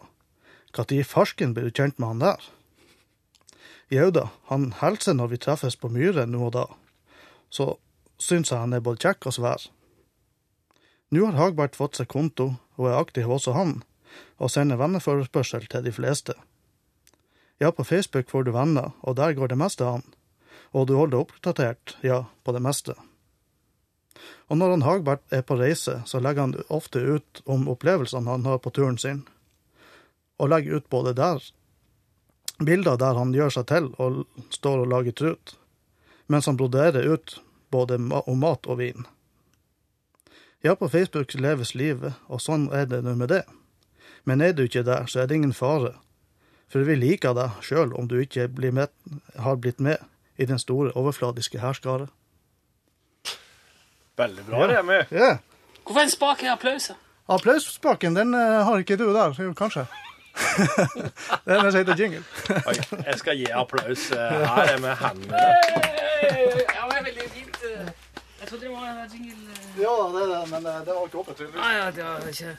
[SPEAKER 7] «Hva tid i farsken blir du kjent med han der?» Jau da, han hilser når vi treffes på Myren nå og da, så syns jeg han er både kjekk og svær. Nå har Hagbert fått seg konto, og er aktiv også han, og sender venneforespørsel til de fleste. Ja, på Facebook får du venner, og der går det meste an, og du holder deg oppdatert, ja, på det meste. Og når han Hagbert er på reise, så legger han ofte ut om opplevelsene han har på turen sin, og legger ut både der bilder der han gjør seg til og står og lager trut, mens han broderer ut både ma- om mat og vin. Ja, på Facebook leves livet, og sånn er det nå med det. Men er du ikke der, så er det ingen fare, for vi liker deg sjøl om du ikke blir med, har blitt med i den store, overfladiske hærskare.
[SPEAKER 4] Veldig bra, Remi.
[SPEAKER 7] Ja,
[SPEAKER 2] Hvorfor en spak i applauser?
[SPEAKER 7] applausspaken, den eh, har ikke du der, jo, kanskje. det er den som heter jingle.
[SPEAKER 4] Oi, jeg skal gi applaus. eh, Her er med hendene.
[SPEAKER 2] Ja, det er veldig fint. eh. Jeg trodde det var en jingle.
[SPEAKER 7] Ja, det er det, men det var ikke oppe, tydeligvis.
[SPEAKER 2] Nei, ja, det var ikke...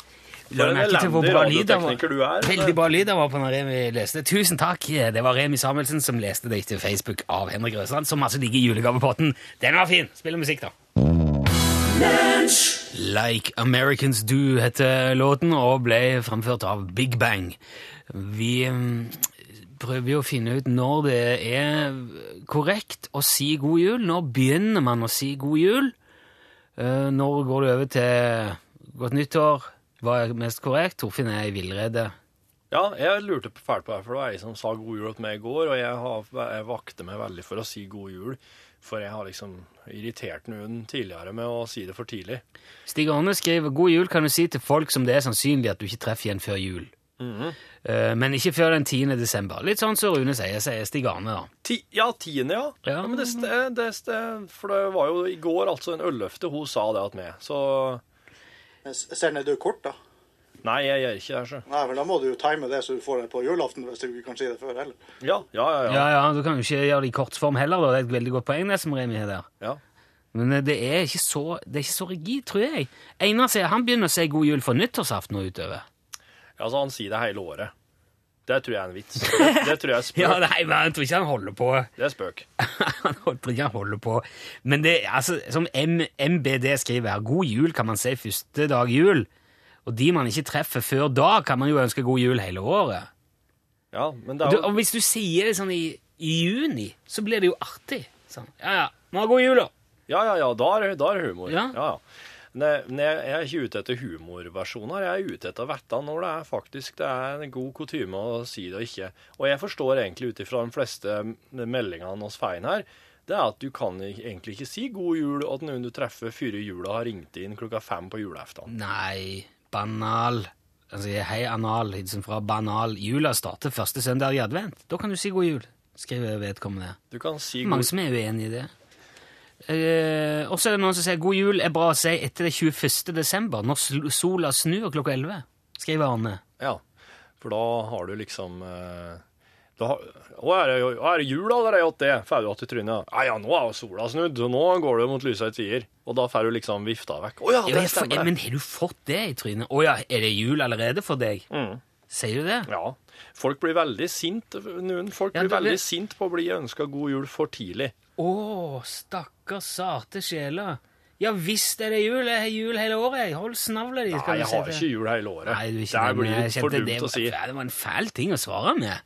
[SPEAKER 4] For
[SPEAKER 2] La
[SPEAKER 4] en
[SPEAKER 2] merke til hvor
[SPEAKER 4] elendig
[SPEAKER 2] bra lyd det var.
[SPEAKER 4] radiotekniker du er.
[SPEAKER 2] Veldig bra lyd det var på når Remi leste. Tusen takk. Det var Remi Samuelsen som leste diktet Facebook av Henrik Røsland, som altså ligger i julegavepotten. Den var fin. Spill musikk, da. Like Americans Do heter låten og ble fremført av Big Bang. Vi mm, prøver jo å finne ut når det er korrekt å si god jul. Når begynner man å si god jul? Eh, Når går det over til godt nyttår? Hva er mest korrekt? Torfinn er i villrede.
[SPEAKER 4] Ja, jeg lurte på- fælt på det, for det var ei som sa god jul til meg i går, og jeg, har, jeg vakte meg veldig for å si god jul, for jeg har liksom irritert noen tidligere med å si det for tidlig.
[SPEAKER 2] Stig Arne skriver god jul kan du si til folk som det er sannsynlig at du ikke treffer igjen før jul. Eh, Men ikke før den 10. desember. Litt sånn som Rune sier, sier Stig Arne. da.
[SPEAKER 4] Ti, ja, tiende, ja.
[SPEAKER 2] Ja.
[SPEAKER 4] men det, st- eh, det, st- for det var jo i går altså en ølløfte hun sa det at meg, så
[SPEAKER 7] Ser ned du kort, da?
[SPEAKER 4] nei, jeg gjør ikke det, så.
[SPEAKER 7] Nei, men da må du jo time det så du får det på julaften, hvis du ikke kan si det før heller.
[SPEAKER 4] Ja, ja, ja. ja.
[SPEAKER 2] Ja, ja, Du kan jo ikke gjøre det i kortform heller. da. Det er et veldig godt poeng. det som Remi har der.
[SPEAKER 4] ja.
[SPEAKER 2] Men eh, det er ikke så, det er ikke så rigid, tror jeg. Einar sier han begynner å si god jul for nyttårsaften og utover.
[SPEAKER 4] Altså, han sier det hele året. Det tror jeg er en vits. Det, det tror jeg er spøk.
[SPEAKER 2] Ja, nei, men Jeg tror ikke han holder på
[SPEAKER 4] Det er spøk.
[SPEAKER 2] Han holdt ikke han holder på. Men det, altså, som M MBD skriver her, god jul kan man si første dag jul. Og de man ikke treffer før da, kan man jo ønske god jul hele året.
[SPEAKER 4] Ja, men det er
[SPEAKER 2] Du,
[SPEAKER 4] jo...
[SPEAKER 2] og hvis du sier det sånn i, i juni, så blir det jo artig. Sånn, ja, ja, må ha god jul, da.
[SPEAKER 4] Ja, ja, ja, da er det, da er det humor.
[SPEAKER 2] Ja.
[SPEAKER 4] Ja. Ja, Nei, nei, jeg er ikke ute etter humorversjoner, jeg er ute etter å vite når det er faktisk det er en god kutyme å si det og ikke. Og jeg forstår egentlig ut ifra de fleste meldingene hos Fein her, det er at du kan ikke- egentlig ikke si god jul til noen du treffer før jula har ringt inn klokka fem på julaften.
[SPEAKER 2] Nei, banal. Altså, jeg- hei, anal. Hilsen fra banal. Jula starter første søndag i advent. Da kan du si god jul, skriver vedkommende.
[SPEAKER 4] Du kan
[SPEAKER 2] Det
[SPEAKER 4] si
[SPEAKER 2] er mange
[SPEAKER 4] god
[SPEAKER 2] som er uenig i det. Eh, også er det noen som sier god jul er bra å si etter det 21. desember, når sl- sola snur klokka 11, skriver Arne.
[SPEAKER 4] Ja, for da har du liksom eh, da, har- å, er det, jo- å, er det jul allerede åt det? Får du att i trynet? Ja, ja, nå er jo sola snudd, og nå går det mot lyse tider. Og da får du liksom vifta vekk. Å ja,
[SPEAKER 2] Ja,
[SPEAKER 4] det
[SPEAKER 2] jeg, får-
[SPEAKER 4] stemmer det.
[SPEAKER 2] men har du fått det i trynet? Å ja, er det jul allerede for deg?
[SPEAKER 4] Mm.
[SPEAKER 2] Sier du det?
[SPEAKER 4] Ja. Folk blir veldig sint, noen folk
[SPEAKER 2] Ja,
[SPEAKER 4] blir
[SPEAKER 2] det blir-
[SPEAKER 4] veldig sint på å bli ønska god jul for tidlig.
[SPEAKER 2] Å, stakkars sarte sjeler. Ja visst er det jul, jeg har jul hele året. jeg. Hold snavla di. skal
[SPEAKER 4] Nei,
[SPEAKER 2] du
[SPEAKER 4] jeg
[SPEAKER 2] si
[SPEAKER 4] har
[SPEAKER 2] til-
[SPEAKER 4] ikke jul hele året.
[SPEAKER 2] Nei, du er ikke det,
[SPEAKER 4] det her blir
[SPEAKER 2] men jeg
[SPEAKER 4] for
[SPEAKER 2] kjente
[SPEAKER 4] dumt
[SPEAKER 2] det,
[SPEAKER 4] å si.
[SPEAKER 2] Det var en fæl ting å svare med.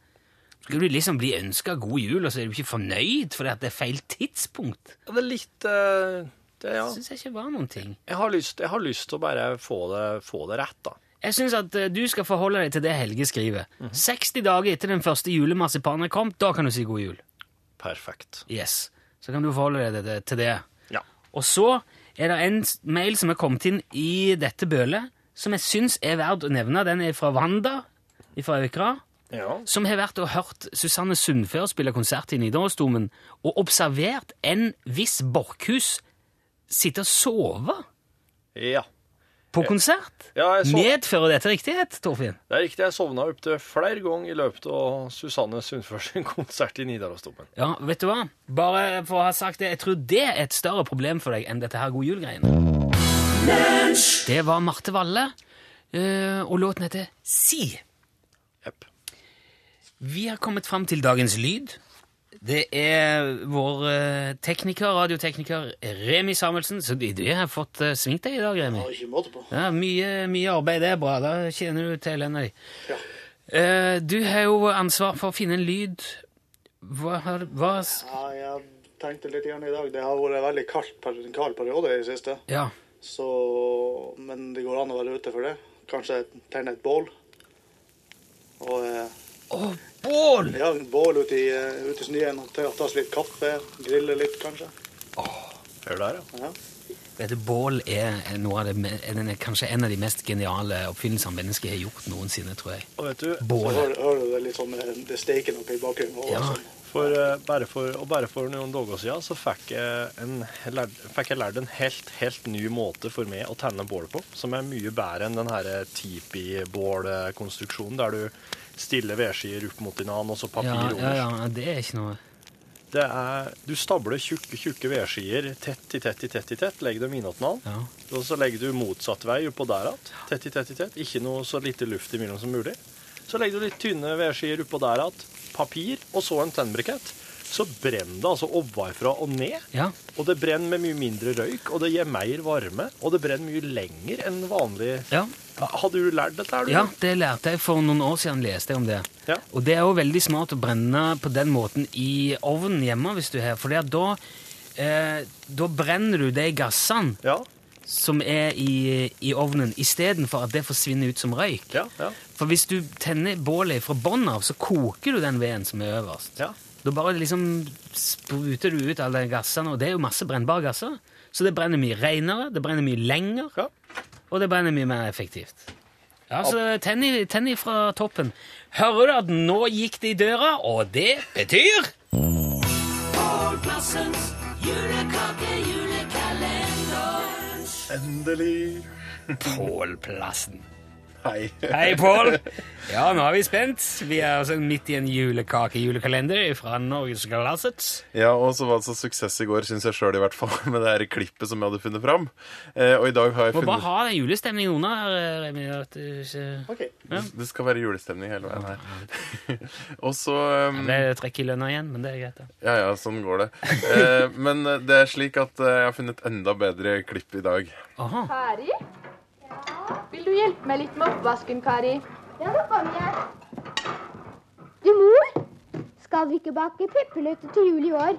[SPEAKER 2] Skulle du liksom bli ønska god jul, og så er du ikke fornøyd fordi at det er feil tidspunkt?
[SPEAKER 4] Ja, Det er litt eh, det, ja.
[SPEAKER 2] Det syns jeg ikke var noen ting.
[SPEAKER 4] Jeg har lyst jeg har lyst til å bare få det, få det rett, da.
[SPEAKER 2] Jeg syns at eh, du skal forholde deg til det Helge skriver.
[SPEAKER 4] Mhm.
[SPEAKER 2] 60 dager etter den første julemarsipanen kom, da kan du si god jul.
[SPEAKER 4] Perfekt.
[SPEAKER 2] Yes. Så kan du forholde deg til det- til det.
[SPEAKER 4] Ja.
[SPEAKER 2] Og så er det en s- mail som er kommet inn i dette bølet, som jeg syns er verdt å nevne. Den er fra Wanda fra Økra.
[SPEAKER 4] ja.
[SPEAKER 2] som har vært og hørt Susanne Sundfør spille konsert i Nidarosdomen, og observert en viss Borkhus sitte og sove
[SPEAKER 4] Ja.
[SPEAKER 2] på konsert.
[SPEAKER 4] Ja, Eh, jeg så-
[SPEAKER 2] Medfører dette riktighet, Torfinn?
[SPEAKER 4] Det er riktig, jeg sovna opptil flere ganger i løpet av Susanne Sundfør sin konsert i Nidarosdomen.
[SPEAKER 2] Ja, vet du hva? Bare for å ha sagt det, jeg tror det er et større problem for deg enn dette her God jul-greiene. Det var Marte Valle, eh, og låten heter Si.
[SPEAKER 4] Jepp.
[SPEAKER 2] Vi har kommet fram til dagens lyd. Det er vår eh, tekniker, radiotekniker Remi Samuelsen. Så du, du har fått eh, svingt deg i dag, Remi.
[SPEAKER 7] Det var ikke måte på.
[SPEAKER 2] Ja, mye, mye arbeid, det er bra. Da tjener du til lønna di. Eh, Du har jo ansvar for å finne en lyd Hva, har- hva s-
[SPEAKER 7] Ja, jeg tenkte litt igjen i dag. Det har vært en veldig kald, per- kald periode i det siste.
[SPEAKER 2] Ja.
[SPEAKER 7] Så, men det går an å være ute for det. Kanskje tenne et bål. Og eh,
[SPEAKER 2] Å, bål!
[SPEAKER 7] ja, en bål ute i, eh, ute i snøen. Ta ta oss litt kaffe, grille litt kanskje.
[SPEAKER 4] Hør der, ja.
[SPEAKER 2] Vet du, bål er, noe av det, me- er den, er kanskje en av de mest geniale oppfinnelsene mennesket har gjort noensinne, tror jeg.
[SPEAKER 4] Og vet du,
[SPEAKER 7] Så
[SPEAKER 2] Bål.
[SPEAKER 7] hører, hører du det litt sånn eh, Det steiker noe i bakgrunnen. Og,
[SPEAKER 2] Ja.
[SPEAKER 7] sånn.
[SPEAKER 4] for, eh, bare for, og bare for noen dager siden så fikk jeg, en, lær- fikk jeg lært en helt, helt ny måte for meg å tenne bål på, som er mye bedre enn den her tipi-bålkonstruksjonen, der du stiller vedskier opp mot hverandre, og så papir
[SPEAKER 2] Ja, ja,
[SPEAKER 4] over.
[SPEAKER 2] ja, det er ikke noe
[SPEAKER 4] Det er, du stabler tjukke, tjukke vedskier tett i tett i tett i tett, legger dem innåt hverandre.
[SPEAKER 2] Ja.
[SPEAKER 4] Og så legger du motsatt vei oppå der igjen. Tett i tett i tett. Ikke noe så lite luft imellom som mulig. Så legger du litt tynne vedskier oppå der igjen. Papir, og så en tennbrikett. Så brenner det altså ovenfra og ned.
[SPEAKER 2] Ja.
[SPEAKER 4] Og det brenner med mye mindre røyk, og det gir mer varme. Og det brenner mye lenger enn vanlig.
[SPEAKER 2] Ja.
[SPEAKER 4] Hadde du lært dette? Er du?
[SPEAKER 2] Ja, det lærte jeg for noen år siden. leste jeg om det.
[SPEAKER 4] Ja.
[SPEAKER 2] Og det er jo veldig smart å brenne på den måten i ovnen hjemme, hvis du har. For da, eh, da brenner du de gassene
[SPEAKER 4] Ja.
[SPEAKER 2] som er i, i ovnen, istedenfor at det forsvinner ut som røyk.
[SPEAKER 4] Ja. Ja.
[SPEAKER 2] For hvis du tenner bålet fra bånn av, så koker du den veden som er øverst.
[SPEAKER 4] ja.
[SPEAKER 2] Da bare liksom spruter du ut alle de gassene, og det er jo masse brennbare gasser. Så det brenner mye renere, det brenner mye lenger.
[SPEAKER 4] ja.
[SPEAKER 2] Og det brenner mye mer effektivt. Ja, så tenn i, tenn i fra toppen. Hører du at nå gikk det i døra, og det betyr
[SPEAKER 8] Endelig.
[SPEAKER 2] Pål Plassen.
[SPEAKER 8] Hei.
[SPEAKER 2] Hei, Pål! Ja, nå er vi spent. Vi er altså midt i en julekakejulekalender fra Norgesglasset.
[SPEAKER 8] Ja, og så var det så suksess i går, syns jeg sjøl i hvert fall, med det her klippet som jeg hadde funnet fram. Eh, og i dag har jeg
[SPEAKER 2] Må bare
[SPEAKER 8] funnet
[SPEAKER 2] ha den julestemningen under. Remi, at du ikke-
[SPEAKER 7] Ok.
[SPEAKER 8] Det skal være julestemning hele veien her. og så um,
[SPEAKER 2] Det er trekk i lønna igjen, men det er greit. da.
[SPEAKER 8] Ja, ja, sånn går det. Eh, men det er slik at eh, jeg har funnet et enda bedre klipp i dag.
[SPEAKER 2] Aha.
[SPEAKER 9] Kari? Vil du hjelpe meg litt med oppvasken, Kari?
[SPEAKER 10] Ja, da kommer jeg.
[SPEAKER 9] Du, mor?
[SPEAKER 10] Skal vi ikke bake peppernøtter til jul i år?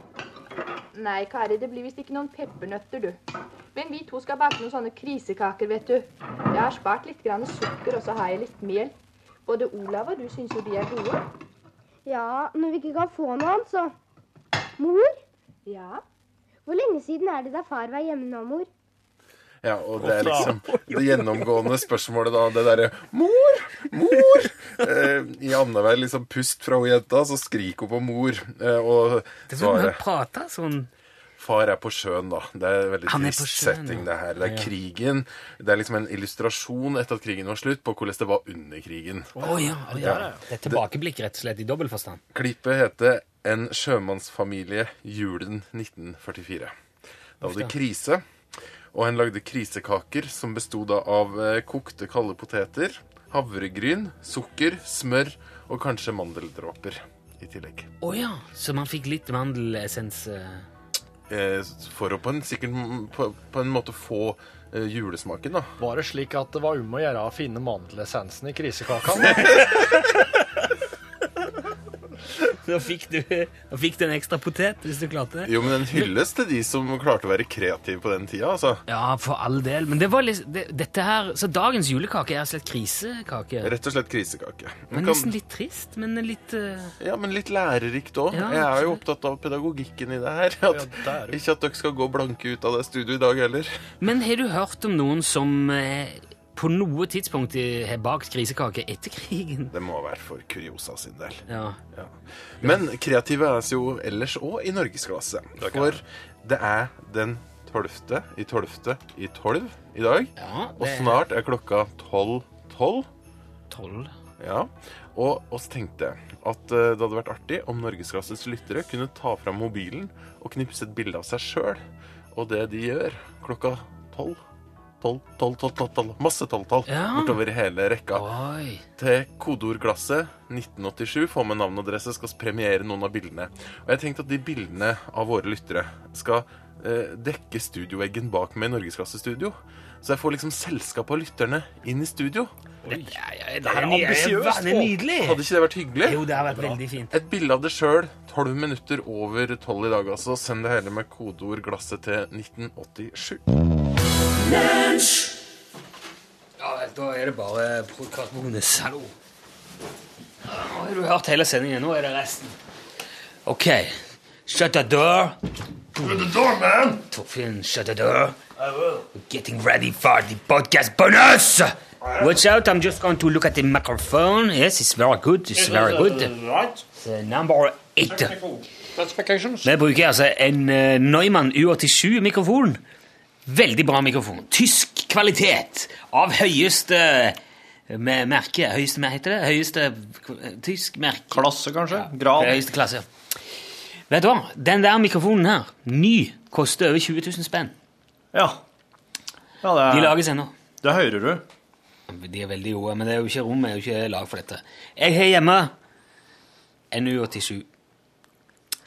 [SPEAKER 9] Nei, Kari, det blir visst ikke noen peppernøtter, du. Men vi to skal bake noen sånne krisekaker, vet du. Jeg har spart litt grann sukker, og så har jeg litt mel. Både Olav og du syns jo de er gode.
[SPEAKER 10] Ja, når vi ikke kan få noe annet, så Mor,
[SPEAKER 9] Ja.
[SPEAKER 11] Hvor lenge siden er det da far var hjemme nå, mor?
[SPEAKER 10] Ja, og det er liksom det gjennomgående spørsmålet da, det derre 'Mor! Mor!' Eh, I annenhver liksom pust fra hun jenta, så skriker hun på 'mor'. Eh, og
[SPEAKER 2] Det er sånn hun
[SPEAKER 10] svaret
[SPEAKER 2] prater sånn.
[SPEAKER 10] 'Far er på sjøen', da. Det er en veldig
[SPEAKER 2] Han er
[SPEAKER 10] trist
[SPEAKER 2] på sjøen, ja.
[SPEAKER 10] setting, det her. Det er krigen. Det er liksom en illustrasjon etter at krigen var slutt, på hvordan det var under krigen.
[SPEAKER 2] Å ja, å, ja. Det er tilbakeblikk, rett og slett, i dobbel forstand.
[SPEAKER 10] Klippet heter 'En sjømannsfamilie julen 1944'. Da var det krise, og en lagde krisekaker som bestod da av eh, kokte kalde poteter, havregryn, sukker, smør og kanskje mandeldråper i tillegg.
[SPEAKER 2] Å ja, så man fikk litt mandelessens eh.
[SPEAKER 10] Eh, For å på en, sikkert, m- på, på en måte få eh, julesmaken, da.
[SPEAKER 6] Var det slik at det var om å gjøre å finne mandelessensen i krisekakene?
[SPEAKER 2] Da fikk du da fikk du en ekstra potet, hvis du klarte det.
[SPEAKER 10] Jo, men en hyllest til de som klarte å være kreative på den tida, altså.
[SPEAKER 2] Ja, for all del. Men det var litt, det, dette her, så dagens julekake er rett og slett krisekake.
[SPEAKER 10] Rett og slett krisekake.
[SPEAKER 2] Men
[SPEAKER 10] Kan-
[SPEAKER 2] nesten litt trist, men litt eh,
[SPEAKER 10] Ja, men litt lærerikt òg.
[SPEAKER 2] Ja,
[SPEAKER 10] jeg er jo
[SPEAKER 2] absolutt.
[SPEAKER 10] opptatt av pedagogikken i det her. At,
[SPEAKER 6] Ja, der.
[SPEAKER 10] ikke at dere skal gå blanke ut av det studioet i dag heller.
[SPEAKER 2] Men har du hørt om noen som eh, på noe tidspunkt i- har bakt krisekake etter krigen?
[SPEAKER 10] Det må være for Curiosa sin del.
[SPEAKER 2] Ja.
[SPEAKER 10] Ja. Men kreative er vi jo ellers òg i norgesklasse. For det er den 12. i 12. i 12 i dag.
[SPEAKER 2] Ja,
[SPEAKER 10] Og
[SPEAKER 2] det-
[SPEAKER 10] snart er klokka 12.12.
[SPEAKER 2] Tolv.
[SPEAKER 10] Ja. Og oss tenkte at eh, det hadde vært artig om norgesklasses lyttere kunne ta fram mobilen og knipse et bilde av seg sjøl og det de gjør klokka tolv. Tolv, tolv, tolv, tolv, tolv. Masse tolvtall
[SPEAKER 2] Ja.
[SPEAKER 10] bortover hele rekka.
[SPEAKER 2] Oi.
[SPEAKER 10] Til kodeordglasset 1987 får med navn og adresse skal vi premiere noen av bildene. Og jeg tenkte at de bildene av våre lyttere skal eh, dekke studioveggen bak meg i norgesklassestudio. Så jeg får liksom selskap av lytterne inn i studio.
[SPEAKER 2] Dette er, ja, det
[SPEAKER 6] er
[SPEAKER 2] er, ny- det er,
[SPEAKER 6] ambisiøst,
[SPEAKER 2] det er nydelig!
[SPEAKER 10] Hadde ikke det vært hyggelig?
[SPEAKER 2] Jo, det har vært veldig fint.
[SPEAKER 10] Et bilde av det sjøl, tolv minutter over tolv i dag, altså. Send det hele med kodeord 'glasset' til 1987.
[SPEAKER 2] Ja vel, da er det bare podkastbonus. Hallo. Nå har du hørt hele sendingen. Nå er det resten. OK. Shut the door. Shut the door, man. Torfinn, shut the door. I will. We're getting ready for the podcast bonus. Watch out, I'm just going to look at the microphone. Yes, it's very good. It's very good. The number eight. Vi bruker altså en eh, Neumann U87-mikrofon. Veldig bra mikrofon. Tysk kvalitet av høyeste med merke. Høyeste, hva heter det? Høyeste k- tysk merke.
[SPEAKER 6] Klasse, kanskje?
[SPEAKER 2] Det er Høyeste klasse, ja. Vet du hva? Den der mikrofonen her, ny, koster over 20 000 spenn.
[SPEAKER 6] Ja. ja det,
[SPEAKER 2] De lages ennå.
[SPEAKER 6] det hører du.
[SPEAKER 2] De er veldig gode, men det er jo ikke rom, det er jo ikke lag for dette. Jeg har hjemme en U87.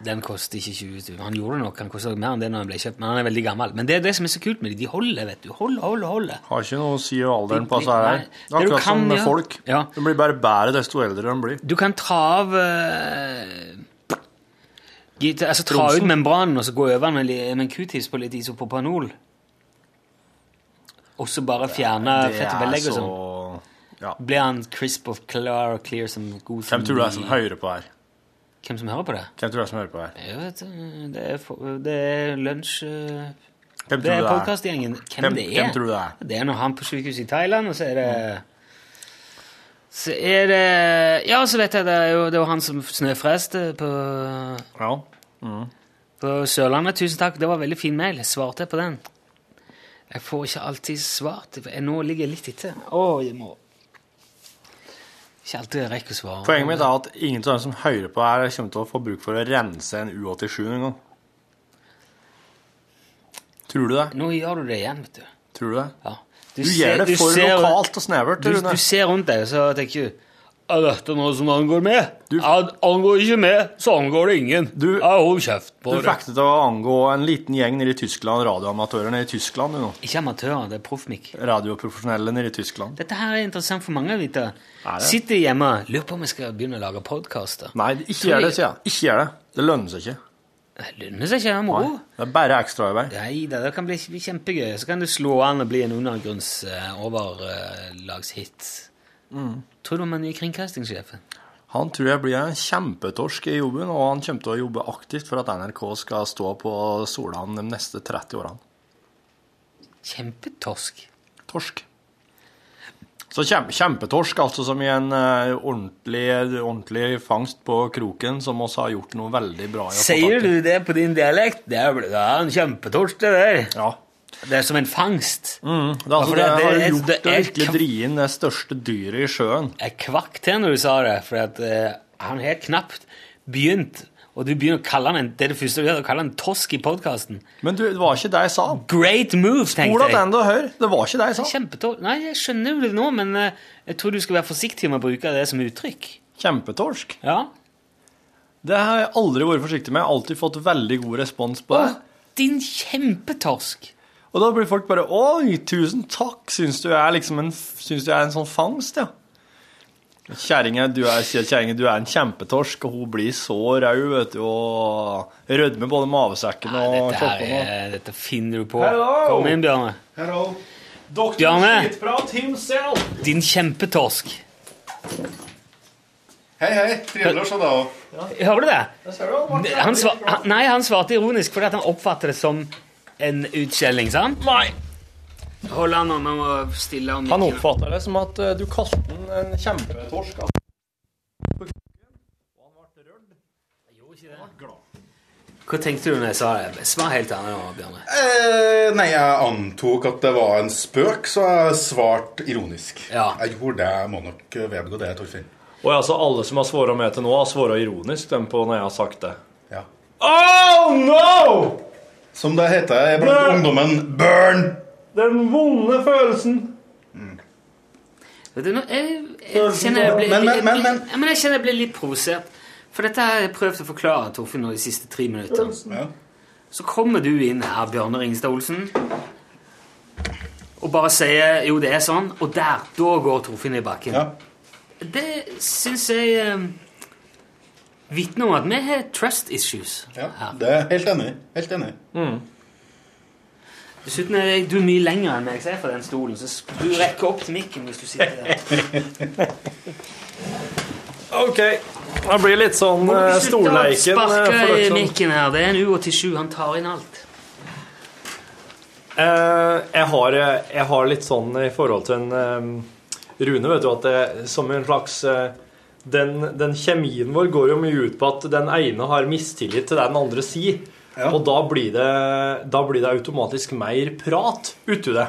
[SPEAKER 2] Den koster ikke 20 000. Han gjorde nok, han koster mer enn det når han ble kjøpt, men han er veldig gammel. Men det er det som er så kult med de. De holder, vet du. Hold, hold, holder.
[SPEAKER 4] Har ikke noe å si hva alderen
[SPEAKER 2] Det-
[SPEAKER 4] passer her.
[SPEAKER 2] nei.
[SPEAKER 4] Det er
[SPEAKER 2] Det du
[SPEAKER 4] akkurat som
[SPEAKER 2] kan
[SPEAKER 4] med
[SPEAKER 2] gjøre-
[SPEAKER 4] folk.
[SPEAKER 2] Ja.
[SPEAKER 4] De blir bare bedre desto eldre de blir.
[SPEAKER 2] Du kan ta av eh, git- Altså ta ut membranen og så gå over med, li- med en q-tips på litt isopropanol. Og så bare fjerne fett og belegg og sånn.
[SPEAKER 4] ja.
[SPEAKER 2] Blir han crisp og klar og clear som god som
[SPEAKER 4] Hvem tror du er
[SPEAKER 2] ny-
[SPEAKER 4] som hører på her?
[SPEAKER 2] Hvem som hører på det?
[SPEAKER 4] Hvem tror du er som hører på her?
[SPEAKER 2] Jeg vet, eh, det er, for- det er lunsj... eh, Det er
[SPEAKER 4] Hvem tror du det er?
[SPEAKER 2] podcastgjengen. Hvem,
[SPEAKER 4] Hvem-
[SPEAKER 2] det er?
[SPEAKER 4] hvem tror du det er? Mm.
[SPEAKER 2] Det er når han på sykehuset i Thailand, og så er det Så er det Ja, så vet jeg det er jo, det er jo han som snøfreste på,
[SPEAKER 4] Ja.
[SPEAKER 2] på Sørlandet. Tusen takk, det var veldig fin mail. Svarte jeg på den? Jeg får ikke alltid svart. Jeg- Nå ligger jeg litt etter. Å, jeg må Ikke alltid jeg rekker å svare.
[SPEAKER 4] Poenget mitt er at ingen av dem som hører på her, kommer til å få bruk for å rense en U87 en gang. Tror du det?
[SPEAKER 2] Nå gjør du det igjen, vet du.
[SPEAKER 4] Tror du det?
[SPEAKER 2] Ja.
[SPEAKER 4] Du, gjør det for
[SPEAKER 2] ser-
[SPEAKER 4] lokalt og snevert,
[SPEAKER 2] Du,
[SPEAKER 4] Rune.
[SPEAKER 2] du ser rundt deg, så tenker du Er dette noe som angår meg?
[SPEAKER 4] Du-
[SPEAKER 2] Ja, det angår ikke meg, så angår det ingen.
[SPEAKER 4] Du-
[SPEAKER 2] ja, hold kjeft på
[SPEAKER 4] Du
[SPEAKER 2] det.
[SPEAKER 4] fikk det til å angå en liten gjeng nede i Tyskland, radioamatører nede i Tyskland, du nå.
[SPEAKER 2] Ikke amatører, det er proffmikk.
[SPEAKER 4] Radioprofesjonelle nede i Tyskland.
[SPEAKER 2] Dette her er interessant for mange å vite.
[SPEAKER 4] Er det?
[SPEAKER 2] Sitter hjemme, lurer på om jeg skal begynne å lage podkaster.
[SPEAKER 4] Nei, ikke gjør det, sier jeg. Ikke gjør det. Det lønner seg ikke.
[SPEAKER 2] Det lønner seg ikke, det er moro.
[SPEAKER 4] Nei, det er bare ekstraarbeid.
[SPEAKER 2] Nei da, det kan bli kj- kjempegøy. Så kan du slå an og bli en eh,
[SPEAKER 4] Mm.
[SPEAKER 2] undergrunns-overlagshit. Tror du om en ny kringkastingssjef?
[SPEAKER 4] Han tror jeg blir en kjempetorsk i jobben, og han kommer til å jobbe aktivt for at NRK skal stå på Solan de neste 30 årene.
[SPEAKER 2] Kjempetorsk?
[SPEAKER 4] Torsk. Så kjem- kjempetorsk, altså som i en eh, ordentlig, ordentlig fangst på kroken, som oss har gjort noe veldig bra i. å få
[SPEAKER 2] Sier
[SPEAKER 4] tak i.
[SPEAKER 2] du det på din dialekt? Det er, det er en kjempetorsk, det der. Det er som en fangst.
[SPEAKER 4] Mm, det, er altså,
[SPEAKER 2] for
[SPEAKER 4] det,
[SPEAKER 2] det- det
[SPEAKER 4] har
[SPEAKER 2] er-
[SPEAKER 4] gjort
[SPEAKER 2] det
[SPEAKER 4] det
[SPEAKER 2] er
[SPEAKER 4] virkelig
[SPEAKER 2] kva-
[SPEAKER 4] drie inn det største dyret i sjøen.
[SPEAKER 2] Jeg kvakk til når du sa det, for at, eh, han har knapt begynt. Og du begynner å kalle han en, det er det første du gjør, å kalle han en tosk i podkasten.
[SPEAKER 4] Men du, det var ikke det jeg sa.
[SPEAKER 2] Great move, tenkte
[SPEAKER 4] Ola
[SPEAKER 2] jeg.
[SPEAKER 4] Benda, hør, det var ikke det jeg sa.
[SPEAKER 2] Kjempetorsk. Nei, jeg skjønner jo det nå, men eh, jeg tror du skal være forsiktig med å bruke det som uttrykk.
[SPEAKER 4] Kjempetorsk.
[SPEAKER 2] Ja.
[SPEAKER 4] Det har jeg aldri vært forsiktig med. Jeg har alltid fått veldig god respons på det.
[SPEAKER 2] Din kjempetorsk.
[SPEAKER 4] Og da blir folk bare Oi, tusen takk! Syns du jeg er liksom en, syns du jeg er en sånn fangst, ja? Kjerringa, du, er- sier kjerringa, du er en kjempetorsk, og hun blir så rød, vet du, og rødmer både mavesekken og
[SPEAKER 2] Dette, her,
[SPEAKER 4] kroppen.
[SPEAKER 2] er- dette finner du på.
[SPEAKER 4] Hello!
[SPEAKER 2] Kom inn, Bjarne.
[SPEAKER 4] Hello. Doktor
[SPEAKER 2] Bjarne.
[SPEAKER 4] Skitprat himself!
[SPEAKER 2] Din kjempetorsk.
[SPEAKER 10] Hei, hei. Trivelig å se deg òg.
[SPEAKER 2] Hører du det?
[SPEAKER 4] Han,
[SPEAKER 2] Han svar, han, nei, han svarte ironisk fordi at han oppfatter det som en utskjelling, sant? Nei. Hold han nå, nå stille om
[SPEAKER 4] han oppfatter det som at eh, du kalte den en kjempetorsk. altså.
[SPEAKER 2] Hva tenkte du når jeg sa det? Svar helt ærlig nå, Bjørne.
[SPEAKER 12] Eh, nei, jeg antok at det var en spøk, så jeg svarte ironisk.
[SPEAKER 2] Ja.
[SPEAKER 12] Jeg gjorde det, jeg må nok vedgå det, Torfinn.
[SPEAKER 4] Og altså, alle som har svara med til nå, har svara ironisk dem på når jeg har sagt det.
[SPEAKER 12] Ja.
[SPEAKER 4] Oh no!
[SPEAKER 12] Som det heter blant
[SPEAKER 4] Nei.
[SPEAKER 12] ungdommen burn!
[SPEAKER 4] Den vonde følelsen.
[SPEAKER 2] Vet du, nå, jeg, jeg kjenner jeg blir,
[SPEAKER 12] Men, men, men, men.
[SPEAKER 2] Ja, men jeg kjenner jeg blir litt provosert. For dette har jeg prøvd å forklare Torfinn nå de siste tre minuttene.
[SPEAKER 12] Ja.
[SPEAKER 2] Så kommer du inn her, Bjørne Ringstad Olsen, og bare sier 'jo, det er sånn', og der, da går Torfinn i bakken.
[SPEAKER 12] Ja.
[SPEAKER 2] Det syns jeg eh, vitner om at vi har trust issues.
[SPEAKER 12] Ja, det er jeg helt enig. i. Helt enig.
[SPEAKER 2] Dessuten er jeg- du er mye lenger enn meg, ser jeg, fra den stolen, så s- du rekker opp til mikken hvis du sitter der.
[SPEAKER 4] Ok, det blir litt sånn
[SPEAKER 2] Må
[SPEAKER 4] eh,
[SPEAKER 2] du slutte å
[SPEAKER 4] storleiken. eh, for
[SPEAKER 2] Sparke
[SPEAKER 4] dere
[SPEAKER 2] i
[SPEAKER 4] som-
[SPEAKER 2] mikken her. Det er en U87. Han tar inn alt.
[SPEAKER 4] Eh, jeg, har, eh, jeg har litt sånn i forhold til en eh, Rune, vet du, at det som en slags eh, den, den kjemien vår går jo mye ut på at den ene har mistillit til det den andre sier. Og da blir, det, da blir det automatisk mer prat uti det.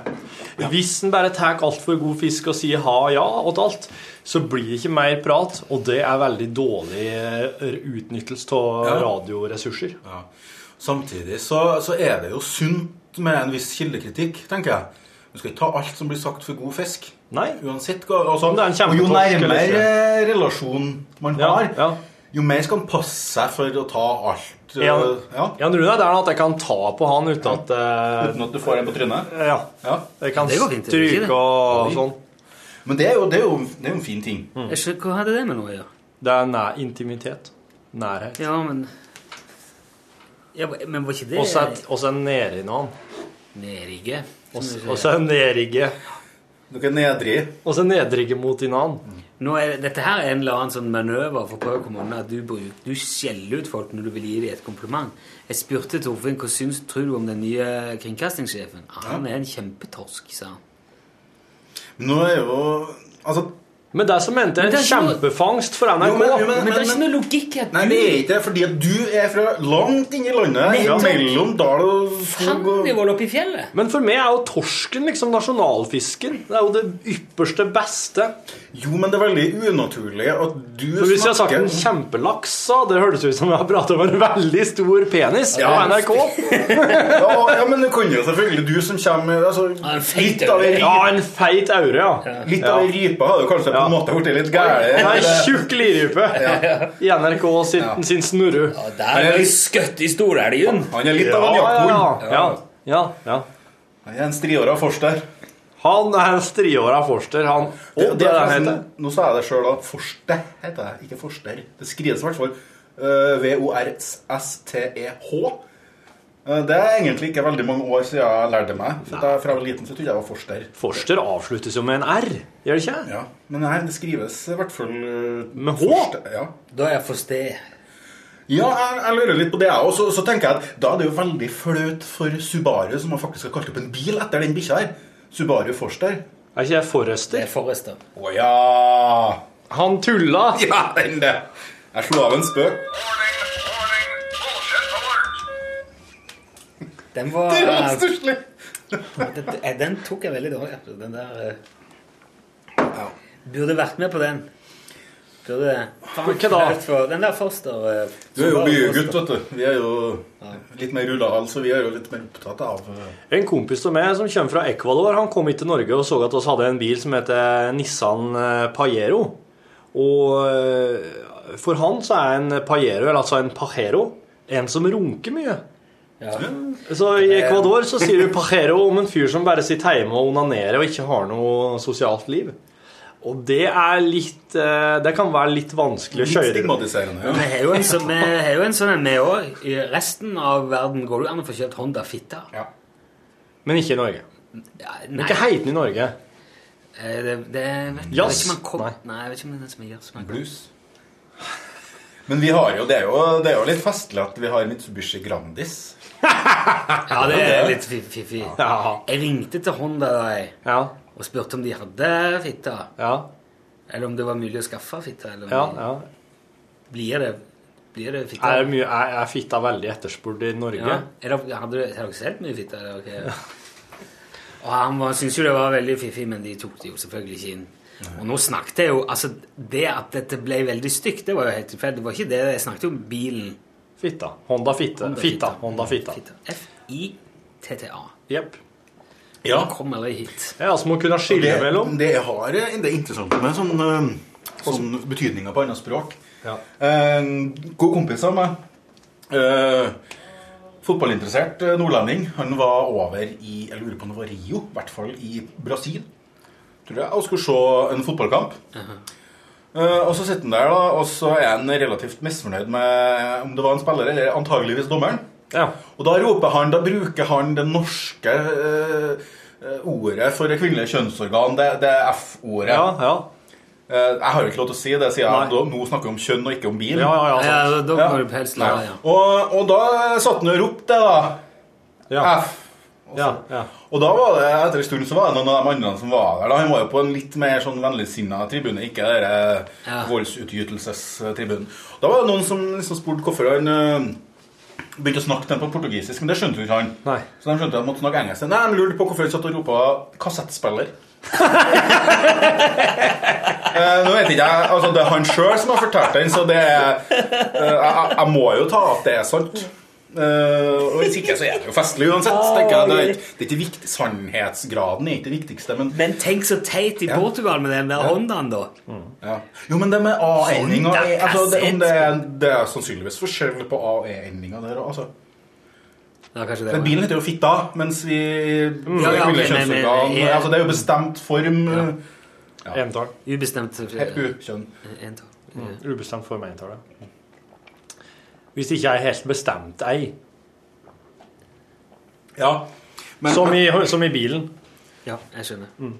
[SPEAKER 4] Hvis en bare tar altfor god fisk og sier ha og ja og til alt, så blir det ikke mer prat. Og det er veldig dårlig eh, utnyttelse av
[SPEAKER 12] Ja.
[SPEAKER 4] radioressurser.
[SPEAKER 12] Samtidig så, så er det jo sunt med en viss kildekritikk, tenker jeg. Du skal ikke ta alt som blir sagt for god fisk.
[SPEAKER 4] Nei.
[SPEAKER 12] Uansett hva altså,
[SPEAKER 4] Om det er en
[SPEAKER 12] Og jo
[SPEAKER 4] kjempetorsk eller
[SPEAKER 12] nærmere
[SPEAKER 4] ikke.
[SPEAKER 12] eh, relasjon man
[SPEAKER 4] Ja,
[SPEAKER 12] har,
[SPEAKER 4] ja.
[SPEAKER 12] jo mer skal man passe seg for å ta alt eh,
[SPEAKER 4] Ja,
[SPEAKER 12] ja.
[SPEAKER 4] Jan Rune, det er noe at jeg kan ta på han uten at eh,
[SPEAKER 12] Uten at du får en på trynet.
[SPEAKER 4] Ja.
[SPEAKER 12] Ja.
[SPEAKER 4] Jeg kan
[SPEAKER 2] Det går fint, det er ikke det.
[SPEAKER 4] stryke og
[SPEAKER 12] Oi.
[SPEAKER 4] sånn.
[SPEAKER 12] Men det er jo, det er jo, det er jo en fin ting.
[SPEAKER 4] Mm.
[SPEAKER 2] Jeg skjønner, hva hadde det med noe å gjøre?
[SPEAKER 4] Det er nær intimitet. Nærhet.
[SPEAKER 2] Ja, men ja, Men var ikke det
[SPEAKER 4] Og så er- og så er nedi noen.
[SPEAKER 2] nedrige?
[SPEAKER 4] Og så er nedrigge.
[SPEAKER 12] Dere er nedrig.
[SPEAKER 4] Og så nedrigge mot innan.
[SPEAKER 2] Nå er, det- dette her er en eller annen sånn manøver for å prøve å komme unna at du, bruk, du skjeller ut folk når du vil gi dem et kompliment. Jeg spurte Torfinn hva syns tror du om den nye kringkastingssjefen. Han er en kjempetorsk, sa han.
[SPEAKER 12] Men Nå er jo Altså,
[SPEAKER 4] Men det som mente
[SPEAKER 2] Men
[SPEAKER 4] en
[SPEAKER 2] det er ikke noe-
[SPEAKER 4] kjempefangst for
[SPEAKER 12] Jo, men- jo,
[SPEAKER 4] NRK.
[SPEAKER 2] Men det er ikke noe logikk i at
[SPEAKER 12] nei, det er
[SPEAKER 2] du
[SPEAKER 12] ikke det, fordi at du er fra langt inne i landet,
[SPEAKER 2] Nettopp.
[SPEAKER 12] mellom dal og
[SPEAKER 2] kan
[SPEAKER 12] skog og
[SPEAKER 2] nivået oppe i fjellet.
[SPEAKER 4] Men for meg er jo torsken liksom nasjonalfisken. Det er jo det ypperste beste.
[SPEAKER 12] Jo, men det er veldig unaturlig at du
[SPEAKER 4] For hvis jeg har sagt
[SPEAKER 12] snakker
[SPEAKER 4] en kjempelaks, så hadde det hørtes ut som jeg har pratet om en veldig stor penis på
[SPEAKER 12] Ja.
[SPEAKER 4] NRK.
[SPEAKER 12] ja, ja, men du kan jo selvfølgelig du som kommer altså,
[SPEAKER 2] Ja, en feit
[SPEAKER 12] Litt av ei
[SPEAKER 4] Ja, en feit aure, ja.
[SPEAKER 12] ri- litt av ei rype hadde jo kanskje på
[SPEAKER 4] Ja.
[SPEAKER 12] en måte blitt litt
[SPEAKER 4] Nei,
[SPEAKER 12] gæren.
[SPEAKER 4] tjukk lirype i NRK sin, sin snurru.
[SPEAKER 2] Ja,
[SPEAKER 12] Men
[SPEAKER 2] Der
[SPEAKER 12] jeg-
[SPEAKER 2] er det skøtt i storelgen.
[SPEAKER 12] Han er litt av en
[SPEAKER 4] ja, ja,
[SPEAKER 12] jakkhund.
[SPEAKER 4] ja. ja, ja.
[SPEAKER 12] Han er en striåra forster.
[SPEAKER 4] Han er en striåra forster, han. Å, det er det han heter.
[SPEAKER 12] forresten- Nå sa jeg det sjøl, da. Forste heter det, ikke forster. Det skrives i hvert fall eh, V-O-R-S-T-E-H. E Eh, Det er egentlig ikke veldig mange år siden jeg lærte meg. For da, fra jeg var liten så trodde jeg jeg var forster.
[SPEAKER 4] Forster avsluttes jo med en R, gjør det ikke?
[SPEAKER 12] Ja, Men her, det skrives i hvert fall eh,
[SPEAKER 4] Med H?
[SPEAKER 12] ja.
[SPEAKER 2] Da er jeg forster.
[SPEAKER 12] Ja, jeg, jeg lurer litt på det, jeg òg. Så, så tenker jeg at da er det jo veldig flaut for Subaru, som har faktisk har kalt opp en bil etter den bikkja her. Subaru Forster.
[SPEAKER 4] Er ikke jeg Forrester?
[SPEAKER 2] Det er Forrester.
[SPEAKER 12] Å ja!
[SPEAKER 4] Han tulla!
[SPEAKER 12] Ja, den det. Jeg slo av en spøk.
[SPEAKER 2] Den var
[SPEAKER 12] Det var stusslig.
[SPEAKER 2] den, eh, den tok jeg veldig dårlig. altså. Den der eh. Burde vært med på den. Burde Faen,
[SPEAKER 4] Hva da?
[SPEAKER 2] flaut for- Den der Forster eh,
[SPEAKER 12] Du er jo
[SPEAKER 2] Subaru
[SPEAKER 12] bygutt,
[SPEAKER 2] Forster.
[SPEAKER 12] vet du. Vi er jo litt mer rullal, så vi er jo litt mer opptatt av eh,
[SPEAKER 4] En kompis av meg som kommer fra Ecuador, han kom hit til Norge og så at oss hadde en bil som heter Nissan eh, Pajero. Og eh, for han så er en Pajero, eller altså en Pajero, en som runker mye. Så i Ecuador så sier du Pajero om en fyr som bare sitter hjemme og onanerer og ikke har noe sosialt liv. Og det er litt eh, Det kan være litt vanskelig å
[SPEAKER 12] Litt
[SPEAKER 4] kjøre.
[SPEAKER 12] stigmatiserende,
[SPEAKER 2] Vi har jo en sånn, vi har jo en sånn en, vi òg. I resten av verden går det jo an å få kjøpt Honda Fitta.
[SPEAKER 4] Men ikke i Norge.
[SPEAKER 2] Nei.
[SPEAKER 4] Ikke heiten i Norge.
[SPEAKER 2] Eh, Det, det vet jeg
[SPEAKER 4] Jazz?
[SPEAKER 2] vet ikke om han kom Nei. jeg vet ikke om det er den som er jazz. men-
[SPEAKER 12] Men vi har jo, det er jo, det er jo litt festlig at vi har Mitsubishi Grandis.
[SPEAKER 2] Ja, det er litt fi- fiffig.
[SPEAKER 4] Ja.
[SPEAKER 2] Jeg ringte til Honda da jeg, og spurte om de hadde fitta. Eller om det var mulig å skaffe fitta. Eller om
[SPEAKER 4] Ja,
[SPEAKER 2] de-
[SPEAKER 4] ja.
[SPEAKER 2] Blir det, blir det fitta?
[SPEAKER 4] Er, det mye, er, er fitta veldig etterspurt i Norge?
[SPEAKER 2] Ja. Er det, hadde du- har dere solgt mye fitte? Eller? ok. Og han var- syntes jo det var veldig fiffig, men de tok det jo selvfølgelig ikke inn. Og nå snakket jeg jo altså Det at dette ble veldig stygt, det var jo helt tilfeldig. Det var ikke det. Jeg snakket jo om bilen.
[SPEAKER 4] Fitta. Honda fitte.
[SPEAKER 2] Honda
[SPEAKER 4] fitta.
[SPEAKER 2] fitta.
[SPEAKER 4] Honda fitta.
[SPEAKER 2] F-I-T-T-A.
[SPEAKER 4] Jepp.
[SPEAKER 12] Ja.
[SPEAKER 2] Kom aldri hit.
[SPEAKER 4] Ja, altså må kunne skille
[SPEAKER 12] det,
[SPEAKER 4] mellom.
[SPEAKER 12] Det har det er interessant med sånn, eh, sånn betydninger på andre språk.
[SPEAKER 4] Ja.
[SPEAKER 12] En god kompis av meg, eh, fotballinteressert eh, nordlending, han var over i jeg lurer på om det var Rio, i hvert fall i Brasil, tror jeg, og skulle se en fotballkamp. Eh, og så sitter han der, da, og så er han relativt misfornøyd med om det var en spiller, eller antageligvis dommeren. Og da roper han, da bruker han det norske eh, eh, ordet for det kvinnelige kjønnsorgan, det, det er F-ordet. Eh, jeg har jo ikke lov til å si det, siden jeg da- nå snakker vi om kjønn og ikke om bil.
[SPEAKER 4] Ja, ja, ja,
[SPEAKER 2] Ja,
[SPEAKER 4] sant.
[SPEAKER 2] da må du helst la
[SPEAKER 12] Nei.
[SPEAKER 2] ja.
[SPEAKER 12] Og, og da satt han og ropte det, da. F. Og, så- og da var det, etter en stund så var det noen av de andre som var der. da. Han var jo på en litt mer sånn vennligsinna tribune, ikke den der, eh, voldsutgytelsestribunen. Da var det noen som liksom spurte hvorfor han eh, begynte å snakke til ham på portugisisk, men det skjønte jo ikke han. Så de skjønte at han måtte snakke engelsk. Nei, de lurte på hvorfor han satt og ropa 'kassettspiller'. Eh, nå vet ikke jeg, altså Det er han sjøl som har fortalt den, så det er eh, jeg, jeg må jo ta at det er sant. Eh, og Hvis ikke, så er det jo festlig uansett. tenker jeg. Det er, ikke- det er ikke viktig, Sannhetsgraden er ikke det viktigste, men
[SPEAKER 2] Men tenk så teit i Portugal med den der Hondaen, da.
[SPEAKER 12] ja. Jo, men det med A-endinga
[SPEAKER 2] Honda
[SPEAKER 12] er- altså, det, om det, er,
[SPEAKER 2] kassett.
[SPEAKER 12] det er sannsynligvis forskjell på A- og E-endinga der òg, altså.
[SPEAKER 2] Ja, kanskje det
[SPEAKER 12] Men
[SPEAKER 2] var-
[SPEAKER 12] bilen heter jo fitta, mens vi Mm.
[SPEAKER 2] Ja, ja,
[SPEAKER 12] kvinnelige
[SPEAKER 2] men- men-
[SPEAKER 12] kjønnsorgan
[SPEAKER 2] men-
[SPEAKER 12] altså, Det er jo bestemt form. eh,
[SPEAKER 4] Entall.
[SPEAKER 2] Ubestemt eh,
[SPEAKER 12] U-kjønn.
[SPEAKER 2] Entall.
[SPEAKER 4] Mm. Ubestemt form er entallet. Hvis ikke jeg helt bestemt ei.
[SPEAKER 12] Ja.
[SPEAKER 4] som, i, som i bilen.
[SPEAKER 2] Ja, jeg skjønner.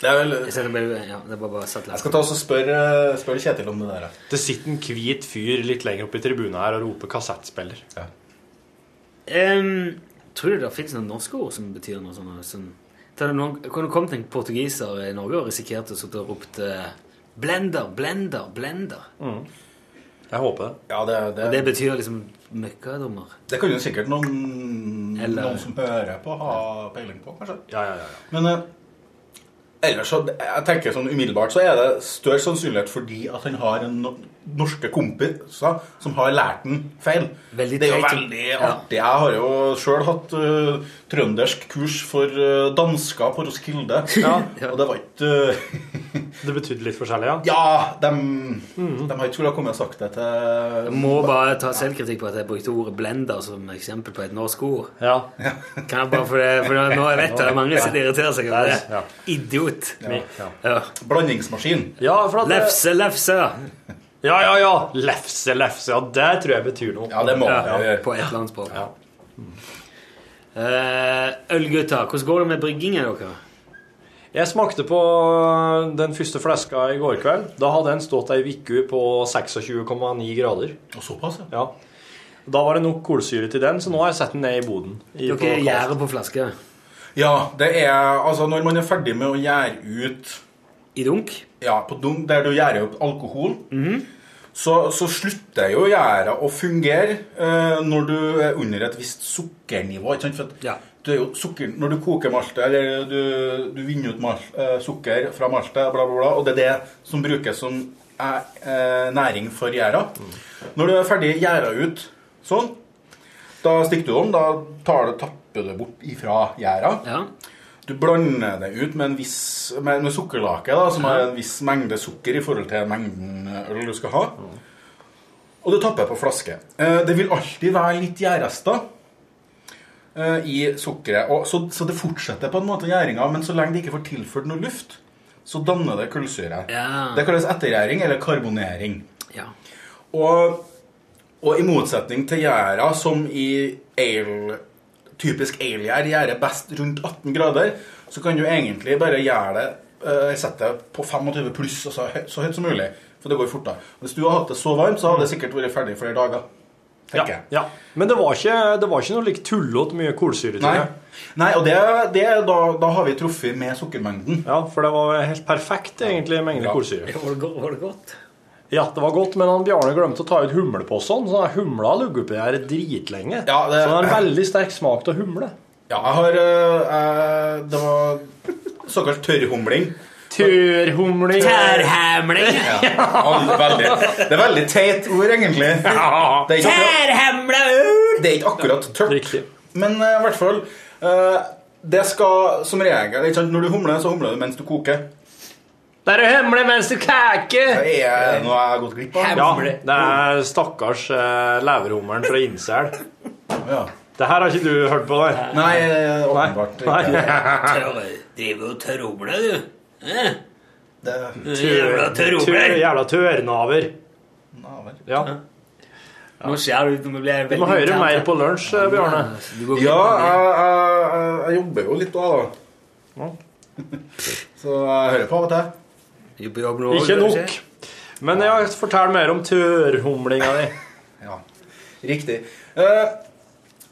[SPEAKER 12] Det er vel
[SPEAKER 2] Jeg ser det bare, ja, det er bare, bare satt
[SPEAKER 12] Jeg skal ta oss og spørre spør Kjetil om det der.
[SPEAKER 4] Det sitter en hvit fyr litt lenger oppe i tribunen her og roper 'kassettspiller'.
[SPEAKER 2] Ehm, tror du det finnes noen norske ord som betyr noe sånt? Som, Tror du noen, kunne det kommet en portugiser i Norge og risikert å sitte og ropt eh, 'blender, blender, blender'?
[SPEAKER 4] Jeg håper det.
[SPEAKER 12] Ja, det, det,
[SPEAKER 2] Og det betyr liksom møkkadommer.
[SPEAKER 12] det kan jo sikkert noen,
[SPEAKER 2] Eller-
[SPEAKER 12] noen som hører på, ha peiling på, kanskje.
[SPEAKER 4] Ja, ja, ja.
[SPEAKER 12] Men eh, ellers så jeg tenker sånn umiddelbart så er det større sannsynlighet fordi at han har en no norske kompiser som har lært den feil.
[SPEAKER 2] Veldig
[SPEAKER 12] det er jo
[SPEAKER 2] teit.
[SPEAKER 12] veldig
[SPEAKER 2] Ja.
[SPEAKER 12] artig. Jeg har jo sjøl hatt eh, trøndersk kurs for eh, dansker på Roskilde, og det var ikke eh,
[SPEAKER 4] Det betydde litt forskjellig, ja.
[SPEAKER 12] Ja, de,
[SPEAKER 2] Mm.
[SPEAKER 12] de har ikke skulle ha kommet og sagt det til
[SPEAKER 2] Jeg må bare ta selvkritikk på at jeg brukte ordet 'blender' som eksempel på et norsk ord.
[SPEAKER 4] Ja.
[SPEAKER 2] Kan jeg bare, for, det, for nå jeg vet jeg det er mange som irriterer seg over det.
[SPEAKER 4] Ja.
[SPEAKER 2] Idiot.
[SPEAKER 4] Ja.
[SPEAKER 2] Ja.
[SPEAKER 12] Blandingsmaskin.
[SPEAKER 4] Ja, for at det-
[SPEAKER 2] Lefse, lefse.
[SPEAKER 4] ja, ja, ja. Lefse, lefse. Ja, det tror jeg betyr noe.
[SPEAKER 12] Ja, det må
[SPEAKER 2] Ja,
[SPEAKER 12] vi gjøre.
[SPEAKER 2] på et eller annet språk.
[SPEAKER 13] Eh, Ølgutta, hvordan går det med bryggingen deres?
[SPEAKER 4] Jeg smakte på øh, den første flaska i går kveld. Da hadde den stått ei uke på 26,9 grader.
[SPEAKER 12] Og såpass,
[SPEAKER 4] ja. Da var det nok kolsyre til den, så nå har jeg satt den ned i boden. I- på
[SPEAKER 13] Dere
[SPEAKER 4] kaffe.
[SPEAKER 13] gjærer på flaske?
[SPEAKER 12] Ja, det er Altså, når man er ferdig med å gjære ut
[SPEAKER 13] I dunk?
[SPEAKER 12] Ja, på dunk, der du gjærer opp alkohol, så, så slutter jo gjæra å fungere eh, når du er under et visst sukkernivå. Ikke sant? For at du er jo sukker, når du koker maltet, eller du, du vinner ut mal, eh, sukker fra maltet, bla, bla, bla, og det er det som brukes som eh, eh, næring for gjæra Når du er ferdig gjæra ut sånn, da stikker du om, da tar du, tapper du bort ifra gjæra. Du blander det ut med, en viss, med, med sukkerlake, da, som har en viss mengde sukker i forhold til mengden øl du skal ha. Og du tapper på flaske. Eh, Det vil alltid være litt gjærrester eh, i sukkeret. Og, så, så det fortsetter på en måte gjæringa, men så lenge det ikke får tilført noe luft, så danner det kullsyre.
[SPEAKER 13] Ja.
[SPEAKER 12] Det kalles ettergjæring eller karbonering.
[SPEAKER 13] Ja.
[SPEAKER 12] Og, og i motsetning til gjæra, som i ale, typisk alegjær gjærer best rundt 18 grader, så kan du egentlig bare gjære det eh, sette det på 25 pluss, altså hø- så høyt som mulig. For det går fortere. Hvis du hadde hatt det så varmt, så hadde det sikkert vært ferdig i flere dager.
[SPEAKER 4] Ja,
[SPEAKER 12] tenker jeg.
[SPEAKER 4] ja. Men det var ikke, det var ikke noe like tullete mye kolsyre til
[SPEAKER 12] Nei.
[SPEAKER 4] det.
[SPEAKER 12] Nei, og det, det, da, da har vi truffet med sukkermengden.
[SPEAKER 4] Ja, for det var helt perfekt egentlig mengde kolsyre.
[SPEAKER 13] Var det, go- var det godt?
[SPEAKER 4] Ja, det var godt, men han Bjarne glemte å ta ut humleposen, så den humla har ligget oppi her dritlenge. Så den har en veldig sterk smak til humle.
[SPEAKER 12] Ja, jeg har eh, eh, Det var såkalt tørrhumling.
[SPEAKER 4] Tørrhumling.
[SPEAKER 13] Tørrhamling.
[SPEAKER 12] Ja. all- Veldig. Det er veldig teit ord, egentlig. Det er ikke
[SPEAKER 13] Tørrhamla
[SPEAKER 12] Det er ikke akkurat tørt. Men eh, i hvert fall eh, Det skal som regel ikke sant? Når du humler, så humler du mens du koker.
[SPEAKER 4] Der er humle mens du kaker!
[SPEAKER 12] Det er noe jeg har gått glipp av.
[SPEAKER 4] Ja, det er stakkars eh, leverhummeren fra Innsel. Det her har ikke du hørt på, nei?
[SPEAKER 12] Nei, eh, åpenbart
[SPEAKER 4] Nei.
[SPEAKER 13] Tørre- Driver og tørrhumler, du. Eh? Jævla
[SPEAKER 4] Tør- tør-
[SPEAKER 13] tørrhumler.
[SPEAKER 4] Jævla tørrnaver. Ja.
[SPEAKER 13] Nå skjer det ut, nå blir jeg
[SPEAKER 4] Du må
[SPEAKER 13] veldig
[SPEAKER 4] høre
[SPEAKER 13] intern.
[SPEAKER 4] mer på lunsj, eh, Bjarne.
[SPEAKER 12] Ja, jeg, jeg, jeg, jeg jobber jo litt da, da. Så jeg hører på av og til.
[SPEAKER 4] Ikke nok. Men ja, fortell mer om tørrhumlinga di.
[SPEAKER 12] Ja, riktig. Eh,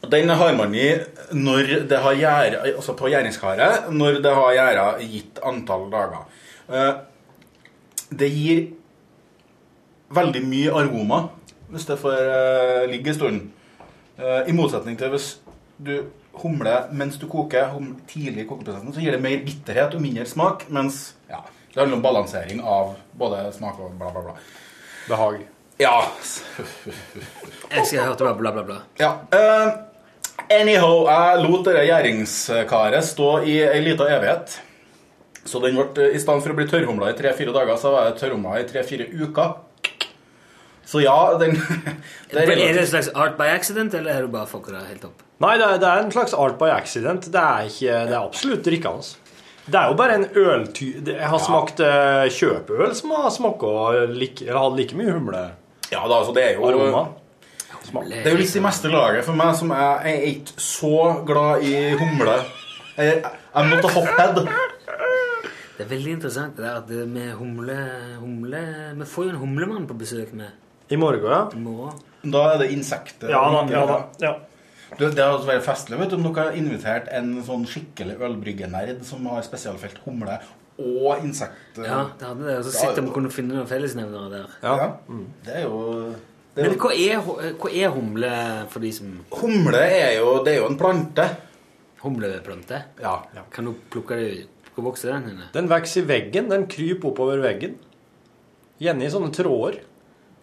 [SPEAKER 12] den har man i når det har gjæra, altså på gjæringskaret når det har gjæra gitt antall dager. Eh, det gir veldig mye aroma hvis det får eh, ligge en stund. Eh, I motsetning til hvis du humler mens du koker hum, tidlig i kokeprosessen, så gir det mer bitterhet og mindre smak, mens ja, det handler om balansering av både smak og bla, bla, bla.
[SPEAKER 4] Behag.
[SPEAKER 12] Ja.
[SPEAKER 13] Jeg skal høre bla, bla, bla, bla.
[SPEAKER 12] Ja. eh, anyhow, jeg lot dette gjæringskaret stå i ei lita evighet. Så den ble, eh, i stedet for å bli tørrhumla i tre-fire dager, så var jeg tørrhumla i tre-fire uker. Så ja, den det
[SPEAKER 13] er, det
[SPEAKER 12] er
[SPEAKER 13] en
[SPEAKER 12] relativt.
[SPEAKER 13] slags art by accident, eller har du bare fucka det helt opp?
[SPEAKER 4] Nei, det er, det er en slags art by accident. Det er, ikke, det er absolutt drikkende. Det er jo bare en ølty... det- Jeg har smakt eh, kjøpeøl som har smaka like, eller hadde like mye humle.
[SPEAKER 12] Ja, da, altså, det er jo
[SPEAKER 4] Aroma.
[SPEAKER 12] Det er jo litt i meste laget for meg, som er, jeg er ikke så glad i humle. Eh, Jeg, I'm not a hophead.
[SPEAKER 13] Det er veldig interessant det der at det med humle, humle Vi får jo en humlemann på besøk med.
[SPEAKER 4] I morgen, ja.
[SPEAKER 12] Da er det insekter.
[SPEAKER 4] Ja da, ja da,
[SPEAKER 12] Du, det hadde vært festlig vet du, om dere har invitert en sånn skikkelig ølbryggernerd som har spesialfelt humle og insekter.
[SPEAKER 13] Ja, det hadde det. Og så
[SPEAKER 12] Da
[SPEAKER 13] sitter
[SPEAKER 12] er
[SPEAKER 13] vi og kunne finne noen fellesnevnere der.
[SPEAKER 12] Ja. Det er jo det er
[SPEAKER 13] Men
[SPEAKER 12] jo-
[SPEAKER 13] hva er, hu- hva er humle for de som
[SPEAKER 12] Humle er jo, det er jo en plante.
[SPEAKER 13] Humleplante?
[SPEAKER 12] Ja.
[SPEAKER 13] Kan du plukke det ut? Hvor vokser den henne?
[SPEAKER 4] Den vokser i veggen. Den kryper oppover veggen. Gjerne i sånne tråder.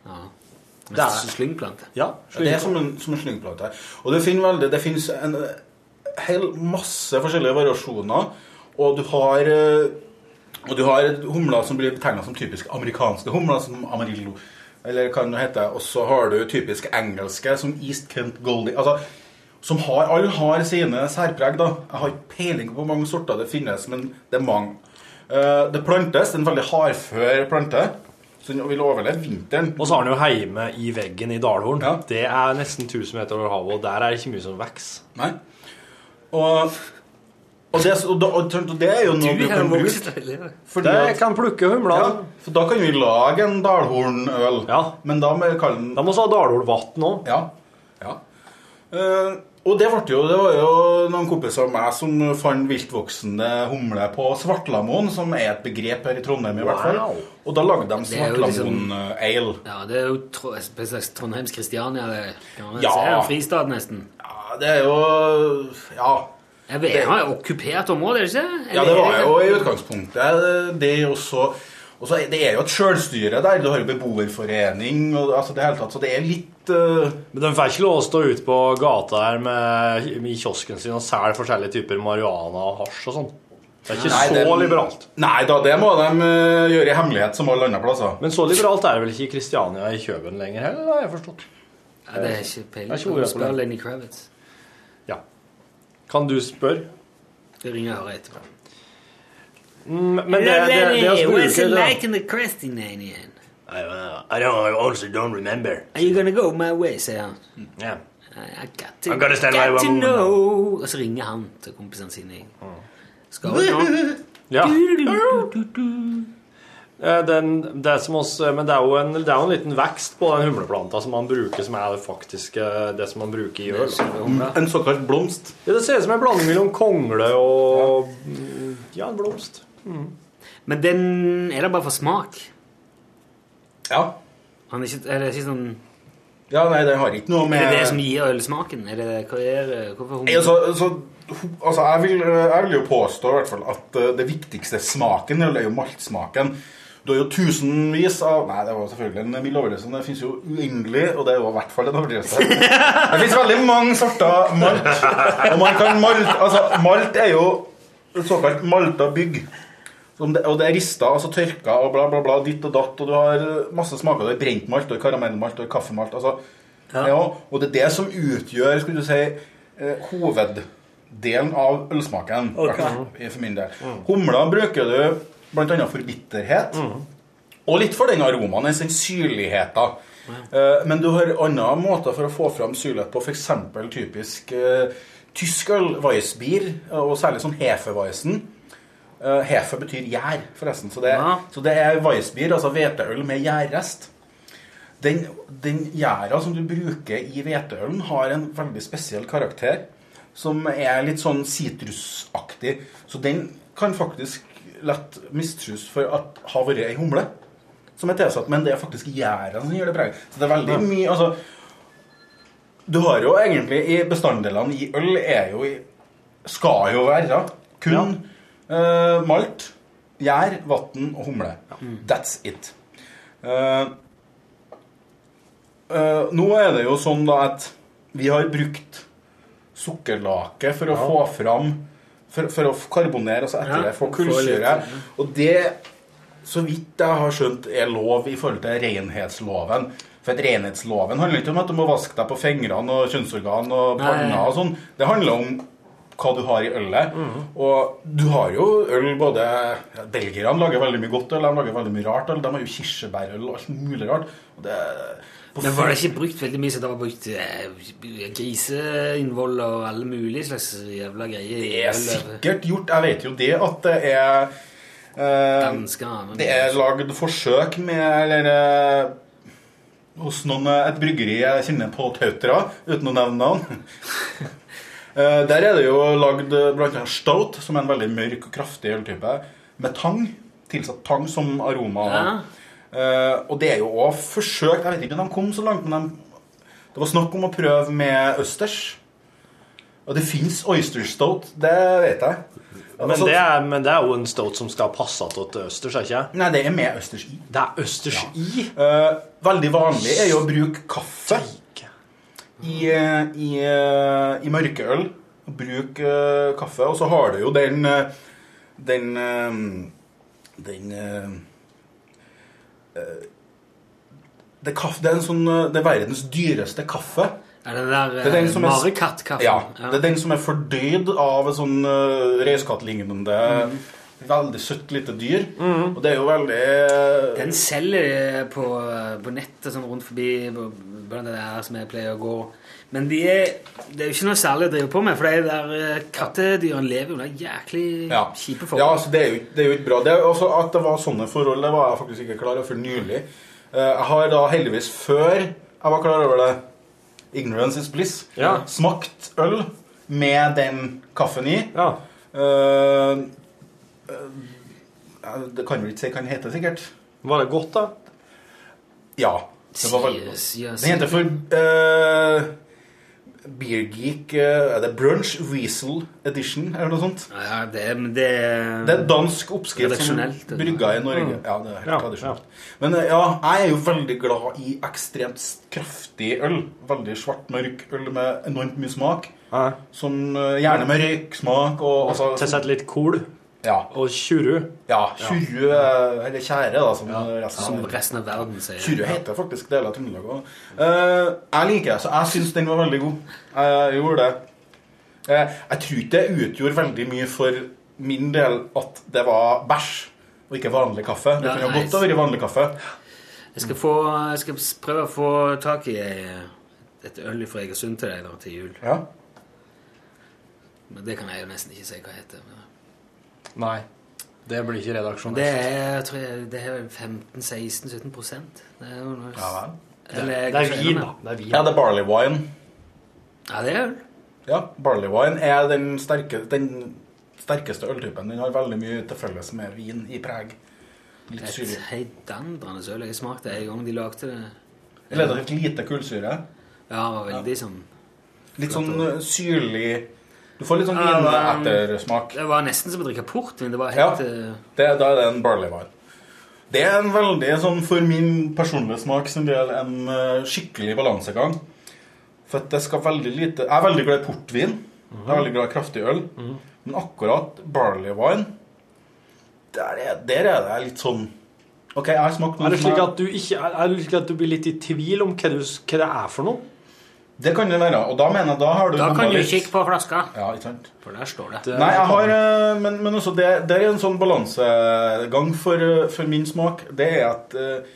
[SPEAKER 13] Ja.
[SPEAKER 4] Det er-
[SPEAKER 13] Slyngplante.
[SPEAKER 4] Ja,
[SPEAKER 12] Ja, det er som en, som en slyngplate. Og du finner veldig, det finnes en eh, hel masse forskjellige variasjoner, og du har eh, og du har humler som blir betegnet som typisk amerikanske humler, som amarillo, eller hva det nå heter, og så har du typisk engelske, som East Kent Goldie, altså, som har, alle har sine særpreg, da. Jeg har ikke peiling på hvor mange sorter det finnes, men det er mange. Eh, det plantes, det er en veldig hardfør plante, Så den vil overleve vinteren.
[SPEAKER 4] Og så har han jo heime i veggen i Dalhorn. Det er nesten 1000 meter over havet, og der er det ikke mye som vokser.
[SPEAKER 12] Nei. Og, og, det, og, da- og, og det er jo noe vi kan bruke. Fordi
[SPEAKER 4] det
[SPEAKER 12] at-
[SPEAKER 4] kan plukke humlene.
[SPEAKER 12] Ja, for da kan vi lage en dalhornøl. Men da må vi kalle den Da
[SPEAKER 4] må vi ha dalhornvann òg.
[SPEAKER 12] Ja. ja. Eh, og det ble jo Det var jo noen kompiser av meg som fant viltvoksende humle på Svartlamoen, som er et begrep her i Trondheim, i hvert fall.
[SPEAKER 13] Wow.
[SPEAKER 12] Og da lagde de
[SPEAKER 13] Det er jo liksom-
[SPEAKER 12] Svartlamoen-ale.
[SPEAKER 13] Ja, det er jo tro, en slags Trondheims Kristiania. Det kan man
[SPEAKER 12] Ja.
[SPEAKER 13] si. Det er en fristad, nesten.
[SPEAKER 12] Ja, det er jo Ja.
[SPEAKER 13] Jeg vet, det er jo okkupert område, er det ikke?
[SPEAKER 12] Ja, det var jo i utgangspunktet eh, det er også og så er- Det er jo et sjølstyre der. Du har jo beboerforening og altså det hele tatt, så det er litt eh,
[SPEAKER 4] Men de får ikke lov å stå ute på gata her med, i kiosken sin og selge forskjellige typer marihuana og hasj og sånn. Det er ikke
[SPEAKER 12] Nei,
[SPEAKER 4] så
[SPEAKER 12] det-
[SPEAKER 4] liberalt.
[SPEAKER 12] Nei da, det må de eh, gjøre i hemmelighet, som alle andre plasser.
[SPEAKER 4] Men så liberalt er det vel ikke i Kristiania i Kjøben lenger heller, har jeg forstått.
[SPEAKER 13] Nei, det er ikke peiling.
[SPEAKER 4] Jeg har ikke ordet på
[SPEAKER 13] Spør
[SPEAKER 4] det.
[SPEAKER 13] Lenny Kravitz.
[SPEAKER 4] Ja. Kan du spørre?
[SPEAKER 13] Det ringer jeg og hører etterpå.
[SPEAKER 4] Mm, men det, det, det, det å
[SPEAKER 13] What's
[SPEAKER 4] bruke
[SPEAKER 13] it
[SPEAKER 4] det
[SPEAKER 13] like in the Kristiania?
[SPEAKER 4] I, uh, I don't I honestly don't remember.
[SPEAKER 13] Are you gonna go my way, sier han.
[SPEAKER 4] Yeah.
[SPEAKER 13] I I got
[SPEAKER 4] I'm gonna stand by
[SPEAKER 13] got
[SPEAKER 4] one
[SPEAKER 13] to
[SPEAKER 4] woman.
[SPEAKER 13] know. Og så ringer han til kompisene sine. Skal vi nå?
[SPEAKER 4] Ja. Eh, Den, det er som oss, eh, men det er, jo en, det er jo en liten vekst på den humleplanta som man bruker, som er det faktiske det som man bruker i øl.
[SPEAKER 12] En såkalt blomst?
[SPEAKER 4] Ja, Det ser ut som en blanding mellom kongle og mm, Ja, en blomst.
[SPEAKER 13] Men den er da bare for smak?
[SPEAKER 12] Ja.
[SPEAKER 13] Han er, ikke, er det ikke sånn
[SPEAKER 12] Ja, nei, den har ikke noe med
[SPEAKER 13] Er det det som gir ølsmaken? Er det, hva er det? Hvorfor
[SPEAKER 12] Nei, altså, altså, ho- altså jeg, vil, jeg vil jo påstå i hvert fall at eh, det viktigste smaken eller er jo maltsmaken. Du har jo tusenvis av Nei, det var selvfølgelig en mild overdrivelse. men Det fins jo uendelig, og det er jo i hvert fall en overdrivelse. Det fins veldig mange sorter malt. Og man kan malt Altså, malt er jo såkalt malta bygg. Som det- Og det er rista, altså tørka og bla, bla, bla, ditt og datt, og du har eh, masse smaker. Du har brentmalt, du har karamellmalt, du har kaffemalt. Altså, ja. og det er det som utgjør skal du si, eh, hoveddelen av ølsmaken.
[SPEAKER 4] Ok.
[SPEAKER 12] hvertfall, i- For min del. Humla bruker du bl.a. for bitterhet, og litt for den aromaen, den- den syrligheten. Eh, Men du har andre måter for å få fram syrlighet på, f.eks. typisk eh, tysk øl, Weissbier, og særlig sånn Hefeweissen. Eh, hefe betyr gjær, forresten. Så det, så det er Weissbier, altså hveteøl med gjærrest. Den, den gjæra som du bruker i hveteølen, har en veldig spesiell karakter. Som er litt sånn sitrusaktig. Så den kan faktisk lett mistrus for at har vært ei humle som er tilsatt, men det er faktisk gjæra som gir det preget. Så det er veldig mye altså, Du har jo egentlig i bestanddelene i øl er jo i, skal jo være kun eh, malt, gjær, vann og humle.
[SPEAKER 4] Mm.
[SPEAKER 12] That's it. Eh, eh, nå er det jo sånn da at vi har brukt sukkerlake for å
[SPEAKER 4] Ja.
[SPEAKER 12] få fram for, for å karbonere, altså etter
[SPEAKER 4] Ja,
[SPEAKER 12] det få
[SPEAKER 4] få litt,
[SPEAKER 12] kullsyre.
[SPEAKER 4] ja.
[SPEAKER 12] Og det, så vidt jeg har skjønt, er lov i forhold til renhetsloven. For at renhetsloven handler ikke om at du må vaske deg på fingrene og kjønnsorgan og
[SPEAKER 4] Nei.
[SPEAKER 12] panna og sånn. Det handler om hva du har i ølet. Og du har jo øl både ja, Belgierne lager veldig mye godt øl, de lager veldig mye rart øl. De har jo kirsebærøl og alt mulig rart. Og det, på
[SPEAKER 13] Men var det ikke brukt veldig mye så det var brukt eh, griseinnvoll og alle mulige slags jævla greier?
[SPEAKER 12] Det er sikkert gjort. Jeg vet jo det at det er eh, Det er lagd forsøk med eller, eh, hos noen, eh, et bryggeri jeg kjenner på Tautra, uten å nevne navn. Eh, Der er det jo lagd eh, blant annet stout, som er en veldig mørk og kraftig øltype, med tang. Tilsatt tang som aroma. Eh, og det er jo òg forsøkt Jeg vet ikke om de kom så langt, men de, det var snakk om å prøve med østers. Og det fins oyster stout, det vet jeg. Altså,
[SPEAKER 4] Men det, er, men det er jo en stout som skal passe til til østers, er ikke
[SPEAKER 12] Nei, det er med østers i.
[SPEAKER 4] Det er østers i?
[SPEAKER 12] Eh, veldig vanlig er jo å bruke kaffe i, eh, i, eh, i mørkeøl. Bruk eh, kaffe. Og så har du jo den eh, Den eh, Den eh, eh, det, er kaffe, det er en sånn eh, Det er verdens dyreste kaffe.
[SPEAKER 13] Er det den
[SPEAKER 12] Det er
[SPEAKER 13] der
[SPEAKER 12] den
[SPEAKER 13] eh,
[SPEAKER 12] som er-
[SPEAKER 13] marekattkaffen?
[SPEAKER 12] Ja, Det er den som er fordøyd av en sånn uh, røyskattlignende eh, Veldig søtt lite dyr. Og det er jo veldig eh,
[SPEAKER 2] Den selger eh, på, på nettet sånn rundt forbi blant det der som jeg pleier å gå. Men de er, det er jo ikke noe særlig å drive på med, for de der eh, kattedyrene lever jo under jæklig
[SPEAKER 12] Ja.
[SPEAKER 2] kjipe
[SPEAKER 12] Ja,
[SPEAKER 2] forhold.
[SPEAKER 12] altså, det, er jo, ikke- det er jo ikke bra. Det er også at det var sånne forhold, det var jeg faktisk ikke klar over før nylig. Eh, Jeg har da heldigvis, før jeg var klar over det, ignorance is bliss,
[SPEAKER 4] Ja.
[SPEAKER 12] smakt øl med den kaffen i. Eh, eh, det kan vel ikke si hva den heter, sikkert.
[SPEAKER 4] Var det godt, da?
[SPEAKER 12] Ja. Det var veldig godt.
[SPEAKER 4] Sier- sier-
[SPEAKER 12] Den heter for eh, Beer Geek eh, Er det Brunch Weasel Edition, eller noe sånt?
[SPEAKER 2] Ja, det, er- men det er
[SPEAKER 12] Det er en dansk oppskrift som
[SPEAKER 2] Redaksjonelt, det-
[SPEAKER 12] brygga i Norge.
[SPEAKER 2] Mm.
[SPEAKER 12] Ja, det er helt
[SPEAKER 2] Ja,
[SPEAKER 12] tradisjonelt. Men eh, ja, jeg er jo veldig glad i ekstremt s- kraftig øl. Veldig svart, mørk øl med enormt mye smak. Som eh, gjerne med røyksmak og altså,
[SPEAKER 4] Tilsett litt kål.
[SPEAKER 12] Ja.
[SPEAKER 4] Og tjuru.
[SPEAKER 12] Ja, tjuru eh, eller tjære, da, som resten
[SPEAKER 2] Som
[SPEAKER 12] av
[SPEAKER 2] resten av verden sier.
[SPEAKER 12] Tjuru heter faktisk deler av Trøndelag òg. jeg liker det, så jeg syns den var veldig god. Jeg gjorde det. Eh, jeg tror ikke det utgjorde veldig mye for min del at det var bæsj og ikke vanlig kaffe. Det
[SPEAKER 2] Ja,
[SPEAKER 12] kunne
[SPEAKER 2] nei,
[SPEAKER 12] godt ha vært vanlig kaffe.
[SPEAKER 2] Jeg skal, få, jeg skal s- prøve å få tak i eh, et øl fra Egersund til deg da, til jul.
[SPEAKER 12] Ja.
[SPEAKER 2] Men det kan jeg jo nesten ikke si hva heter. Men
[SPEAKER 4] Nei. Det blir ikke redaksjonelt.
[SPEAKER 2] det er, jeg tror jeg, det er 15-16-17 prosent. Det er jo noe...
[SPEAKER 12] Ja,
[SPEAKER 2] Eller
[SPEAKER 12] Det er
[SPEAKER 2] kanskje
[SPEAKER 12] vin,
[SPEAKER 2] enda
[SPEAKER 12] da.
[SPEAKER 2] mer.
[SPEAKER 4] Det er vin.
[SPEAKER 12] Ja, det er barley wine.
[SPEAKER 2] Ja, det er øl.
[SPEAKER 12] Ja, barley wine er den, sterke, den sterkeste øltypen. Den har veldig mye til felles med vin i preg. Litt
[SPEAKER 2] Et
[SPEAKER 12] syrlig.
[SPEAKER 2] heidandrende øl. Jeg smakte en gang de lagde det.
[SPEAKER 12] Eller det er litt lite kullsyre.
[SPEAKER 2] Ja, det var veldig sånn
[SPEAKER 12] Litt sånn eh, syrlig Du får litt sånn
[SPEAKER 2] Ja, det var-
[SPEAKER 12] vin-ettersmak.
[SPEAKER 2] Det var nesten som å drikke portvin. Det var helt eh,
[SPEAKER 12] Det, da er det en barley wine. Det er en veldig, sånn, for min personlige smak sin del, en eh, skikkelig balansegang. For at det skal veldig lite Jeg er veldig glad i portvin. Jeg er veldig glad i kraftig øl. Men akkurat barley wine Der er, der er det litt sånn OK, jeg har smakt noe
[SPEAKER 4] Er det
[SPEAKER 12] som
[SPEAKER 4] slik
[SPEAKER 12] jeg-
[SPEAKER 4] at du, ikke, er, er det slik at du blir litt i tvil om hva, du, hva det er for noe?
[SPEAKER 12] Det kan det være. Og da mener jeg da har du
[SPEAKER 2] Da
[SPEAKER 12] bomma
[SPEAKER 2] kan du
[SPEAKER 12] litt.
[SPEAKER 2] kikke på flaska.
[SPEAKER 12] Ja, ikke sant?
[SPEAKER 2] For der står det.
[SPEAKER 12] Nei, jeg har eh, Men, men også det, det er en sånn balansegang for, eh, for min smak. Det er at eh,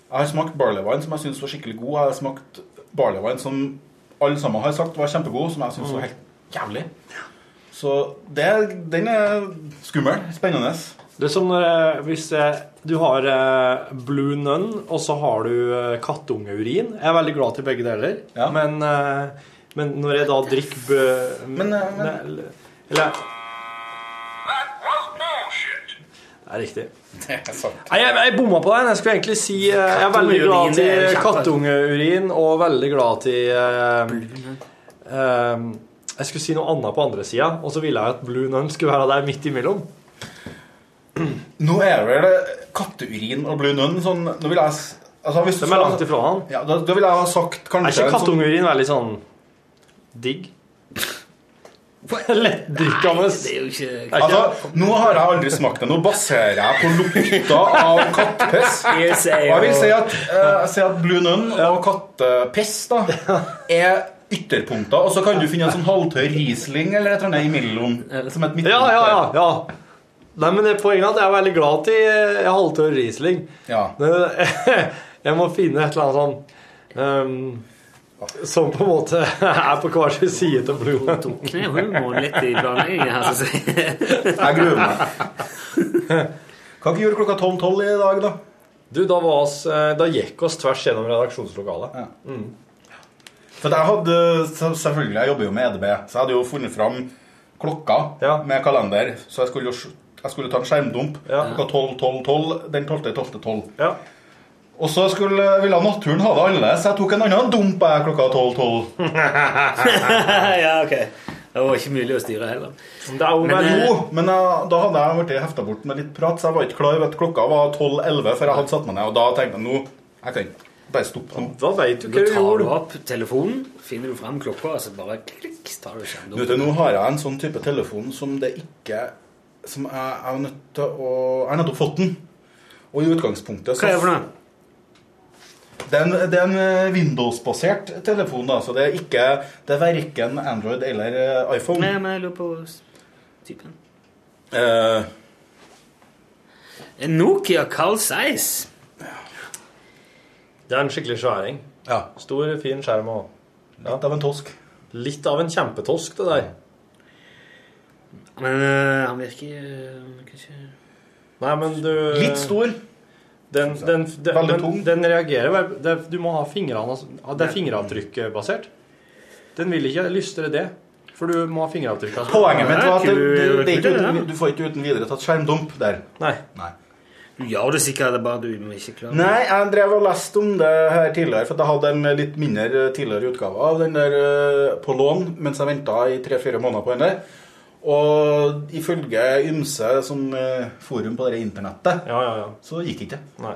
[SPEAKER 12] jeg har smakt barley wine som jeg syns var skikkelig god. Jeg har smakt barley wine som alle sammen har sagt var kjempegod, som jeg syns
[SPEAKER 4] Mm.
[SPEAKER 12] var helt jævlig. Så det, den er skummel. Spennende.
[SPEAKER 4] Det er som når eh, hvis eh, du har eh, Blue Nun, og så har du eh, kattungeurin. Jeg er veldig glad til begge deler, men, eh, men når jeg da drikker bø... Men,
[SPEAKER 12] eh,
[SPEAKER 4] eller, eller Det er riktig. Nei, jeg, jeg bomma på den. Jeg skulle egentlig si eh, Jeg er veldig
[SPEAKER 2] Kattungeurin,
[SPEAKER 4] glad
[SPEAKER 2] det er
[SPEAKER 4] til
[SPEAKER 2] jo kjempe.
[SPEAKER 4] kattungeurin og veldig glad til eh, eh, Jeg skulle si noe annet på andre sida, og så ville jeg at Blue Nun skulle være der midt imellom.
[SPEAKER 12] Nå er vel det katteurin og blue nun sånn Nå vil jeg s- altså, hvis
[SPEAKER 4] De
[SPEAKER 12] du
[SPEAKER 4] er
[SPEAKER 12] skal-
[SPEAKER 4] langt ifra han.
[SPEAKER 12] Ja, da, da vil jeg ha sagt
[SPEAKER 4] Er ikke
[SPEAKER 12] kanskje en sånn-
[SPEAKER 4] kattungeurin veldig sånn digg? Lettdrikkende.
[SPEAKER 2] Det er jo ikke
[SPEAKER 12] Altså, nå har jeg aldri smakt det. Nå baserer jeg på lukta av kattepiss. Og
[SPEAKER 2] Jeg sier jo-
[SPEAKER 12] jeg vil si at, eh, jeg sier at Blue Nun og kattepiss da, er ytterpunkter. Og så kan du finne en sånn halvtørr Riesling eller et eller annet imellom. Som et midtpunkt.
[SPEAKER 4] Ja, ja, ja. ja. Nei, men det er poenget er at jeg er veldig glad til eh, halvtørr Riesling. Men, Jeg må finne et eller annet sånn ehm, som på en måte er på hver sin side av blodet.
[SPEAKER 2] Knep humoren litt i planleggingen her, så å si.
[SPEAKER 12] Jeg gruer meg. Hva gjorde klokka 12.12 i dag, da?
[SPEAKER 4] Du, da, var oss, eh, da gikk oss tvers gjennom redaksjonslokalet. Mm.
[SPEAKER 12] For jeg hadde, så- selvfølgelig, jeg jobber jo med EDB, så jeg hadde jo funnet fram klokka med kalender. Så jeg skulle, jo s- jeg skulle ta en skjermdump klokka 12, 12, 12, den 12. 12. 12. Og så skulle, ville naturen ha det annerledes, så jeg tok en annen dump jeg, klokka 12, 12.
[SPEAKER 2] ja, ok. Det var ikke mulig å styre heller.
[SPEAKER 12] Men, jo, men jeg, da hadde jeg blitt hefta bort med litt prat, så jeg var ikke klar over at klokka var 12.11 før jeg hadde satt meg ned. Og da tenkte jeg nå jeg kan bare stoppe nå.
[SPEAKER 4] Da vet
[SPEAKER 2] Da tar du opp telefonen, finner du fram klokka, og så bare klikk, så tar du
[SPEAKER 12] Du vet, nå
[SPEAKER 2] skjermen.
[SPEAKER 12] har jeg en sånn type telefon som det ikke Som jeg jeg er nødt til å Jeg har nettopp fått den. Og i utgangspunktet
[SPEAKER 2] Hva er det for noe?
[SPEAKER 12] Det er en, det er en eh, Windows-basert telefon, da, så det er ikke Det er verken Android eller eh, iPhone.
[SPEAKER 2] Nei, men jeg lurer på typen.
[SPEAKER 12] Eh,
[SPEAKER 2] En Nokia Carl Zeiss.
[SPEAKER 4] Det er en skikkelig sværing. Stor, fin skjerm òg. Litt
[SPEAKER 12] av en tosk.
[SPEAKER 4] Litt av en kjempetosk, det der.
[SPEAKER 2] Men eh, han virker eh, kanskje
[SPEAKER 4] Nei, men du
[SPEAKER 2] Litt
[SPEAKER 12] stor.
[SPEAKER 4] Den, den, den,
[SPEAKER 2] Veldig
[SPEAKER 4] men
[SPEAKER 2] tung.
[SPEAKER 4] den reagerer vel- det, Du må ha fingrene altså, ja, Det er fingeravtrykkbasert. Den vil ikke lystre det, for du må ha fingeravtrykk. altså.
[SPEAKER 12] Poenget mitt var at det, det, det, er ikke uten, du får ikke uten videre tatt skjermdump der.
[SPEAKER 4] Nei.
[SPEAKER 2] Du gjør det sikkert, det er bare du må ikke klare det.
[SPEAKER 12] Nei, jeg drev og leste om det her tidligere, for jeg hadde en litt mindre eh, tidligere utgave av den der eh, på lån, mens jeg venta i tre-fire måneder på den der. Og ifølge ymse som eh, forum på det internettet, så gikk ikke det.
[SPEAKER 4] Nei.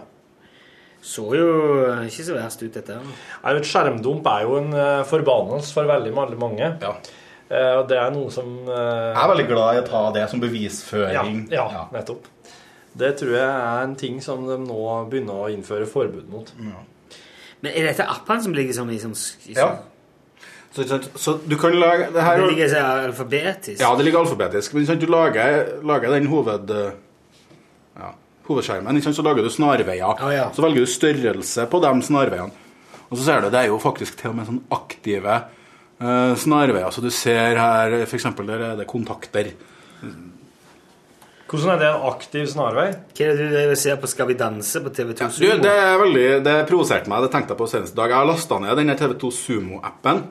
[SPEAKER 2] Så jo eh, ikke så verst ut, dette.
[SPEAKER 4] Nei, vet, skjermdump er jo en eh, forbannelse for veldig veldig mange. Eh, og det er noe som eh,
[SPEAKER 12] Jeg er veldig glad i å ta det som bevisføring.
[SPEAKER 4] Ja, ja, nettopp. Det tror jeg er en ting som de nå begynner å innføre forbud mot.
[SPEAKER 2] Men er dette appene som ligger sånn i sånn i
[SPEAKER 12] Ja.
[SPEAKER 2] sånn-
[SPEAKER 12] Så, så, så du kan lage det her
[SPEAKER 2] Det ligger så alfabetisk.
[SPEAKER 12] Ja, det ligger alfabetisk. Men ikke sant, du lager, lager den hoved, ja, hovedskjermen, ikke sant, så lager du snarveier. Så velger du størrelse på de snarveiene. Og så ser du, det er jo faktisk til og med sånn aktive eh, snarveier. Så du ser her, for eksempel, der er det kontakter.
[SPEAKER 4] Hvordan er det en aktiv snarvei?
[SPEAKER 2] Hva er det du driver og ser på Skal vi danse på TV2
[SPEAKER 12] Du,
[SPEAKER 2] Sumo?
[SPEAKER 12] det er veldig, det provoserte meg, det tenkte jeg på senest i dag. Jeg har lastet ned denne TV2 Sumo-appen.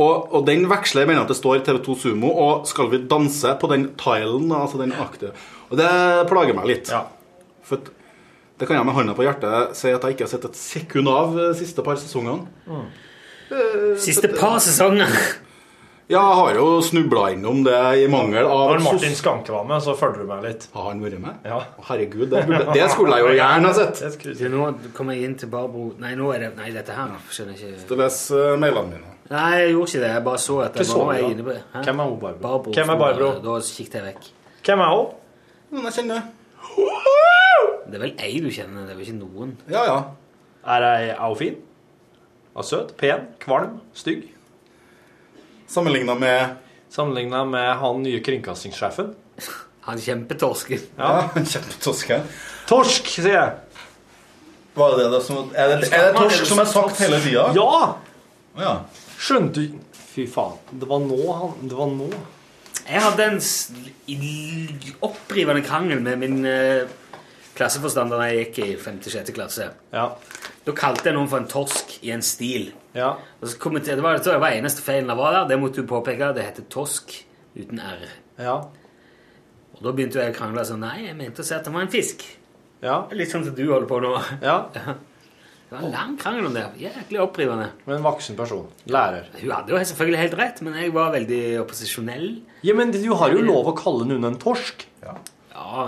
[SPEAKER 12] Og, og den veksler mellom at det står TV2 Sumo og Skal vi danse på den tilen. Altså den aktive. Og det plager meg litt. For at det kan jeg med hånda på hjertet si at jeg ikke har sett et sekund av de siste par sesongene.
[SPEAKER 2] Siste par sesonger.
[SPEAKER 12] Ja, jeg har jo snubla innom det i mangel av
[SPEAKER 4] Når Martin Skanke var med, så følger du med litt.
[SPEAKER 12] Har han vært med?
[SPEAKER 4] Ja.
[SPEAKER 12] Herregud, det, burde, det skulle jeg jo gjerne ha sett.
[SPEAKER 2] Du, nå kommer jeg inn til Barbro Nei, nå er det Nei, dette her skjønner jeg ikke.
[SPEAKER 12] Så les eh, mailene mine.
[SPEAKER 2] Nei, jeg gjorde ikke det. Jeg bare så at
[SPEAKER 12] Hva
[SPEAKER 2] det
[SPEAKER 12] så
[SPEAKER 2] var
[SPEAKER 12] du
[SPEAKER 2] jeg
[SPEAKER 12] da?
[SPEAKER 2] inne på det. Hæ?
[SPEAKER 12] Hvem er hun, Barbro?
[SPEAKER 2] Barbro.
[SPEAKER 12] Hvem er Barbro?
[SPEAKER 2] Da kikket jeg vekk.
[SPEAKER 4] Hvem er hun?
[SPEAKER 12] Noen jeg kjenner.
[SPEAKER 2] Det er vel ei du kjenner, det er vel ikke noen?
[SPEAKER 12] Ja, ja.
[SPEAKER 4] Er ei er hun fin? Er hun søt? Pen? Kvalm? Stygg?
[SPEAKER 12] Sammenligna med
[SPEAKER 4] Sammenligna med han nye kringkastingssjefen?
[SPEAKER 2] Han kjempetorsken.
[SPEAKER 4] Ja,
[SPEAKER 12] kjempetorsken.
[SPEAKER 4] Torsk, sier jeg!
[SPEAKER 12] Var det det som Er det, er det torsk som er sagt hele tida?
[SPEAKER 4] Ja!
[SPEAKER 12] ja!
[SPEAKER 4] Skjønte du Fy faen. Det var nå han Det var nå.
[SPEAKER 2] Jeg hadde en s- i- opprivende krangel med min eh, klasseforstander da jeg gikk i 5.-6. klasse. Da kalte jeg noen for en torsk i en stil. Og så kom jeg til, det var, det var eneste feilen jeg var der. Det måtte du påpeke. Det heter torsk uten r. Og da begynte jeg å krangle sånn Nei, jeg mente å si at han var en fisk. Litt sånn som du holder på nå. Det var en lang krangel om det. Jæklig opprivende.
[SPEAKER 4] Men en voksen person. Lærer.
[SPEAKER 2] Hun hadde jo selvfølgelig helt rett, men jeg var veldig opposisjonell.
[SPEAKER 4] Ja, men du har jo lov å kalle noen en torsk.
[SPEAKER 2] Ja,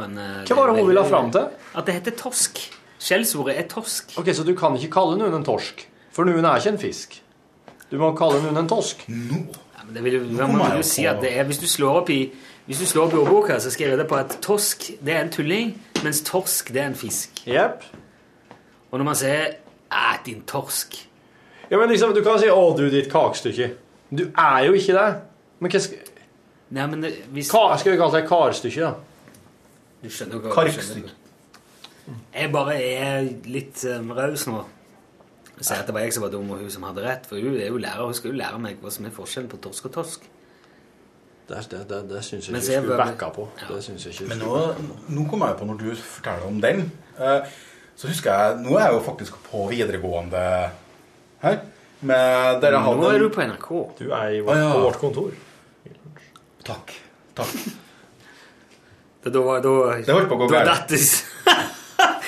[SPEAKER 2] men eh,
[SPEAKER 4] Hva var det hun ville ha fram til?
[SPEAKER 2] At det heter torsk. Skjellsordet er torsk.
[SPEAKER 4] Ok, Så du kan ikke kalle noen en torsk? For noen er ikke en fisk. Du må kalle noen en torsk.
[SPEAKER 2] Ja, men det vil, jo- da
[SPEAKER 4] kommer
[SPEAKER 2] må du
[SPEAKER 4] jeg jo
[SPEAKER 2] si
[SPEAKER 4] på-
[SPEAKER 2] at det er, hvis du slår opp i hvis du slår opp i ordboka, så skriver det på at torsk det er en tulling, mens torsk det er en fisk. Og når man sier «Æ, din torsk
[SPEAKER 4] Ja, men liksom, Du kan si 'Å, du, ditt kakestykke'. Du er jo ikke det. Men hva skal
[SPEAKER 2] Nei, men det- hvis...
[SPEAKER 4] Kar, Skal vi kalle det karstykke, da?
[SPEAKER 2] Du skjønner hva du skjønner. Jeg bare er litt um, raus nå. Jeg sier at det var jeg som var dum, og hun som hadde rett. For hun er jo lærer, hun skal jo lære meg hva som er forskjellen på torsk og torsk.
[SPEAKER 4] Det, det, det, det syns jeg
[SPEAKER 2] Mens
[SPEAKER 4] ikke
[SPEAKER 2] jeg
[SPEAKER 4] du skulle
[SPEAKER 2] var-
[SPEAKER 4] backa på. Det synes jeg ikke du
[SPEAKER 12] Men nå,
[SPEAKER 4] skulle-
[SPEAKER 12] nå kom jeg jo på når du forteller om den. eh, Så husker jeg Nå er jeg jo faktisk på videregående her. Med dere hadde
[SPEAKER 2] Nå er du på NRK.
[SPEAKER 4] Du er i
[SPEAKER 12] vårt- Å, ja. på vårt
[SPEAKER 4] kontor.
[SPEAKER 12] Takk. Takk.
[SPEAKER 2] Det, da, var- da,
[SPEAKER 12] Det holdt på å gå
[SPEAKER 2] da
[SPEAKER 12] galt.
[SPEAKER 2] datt det-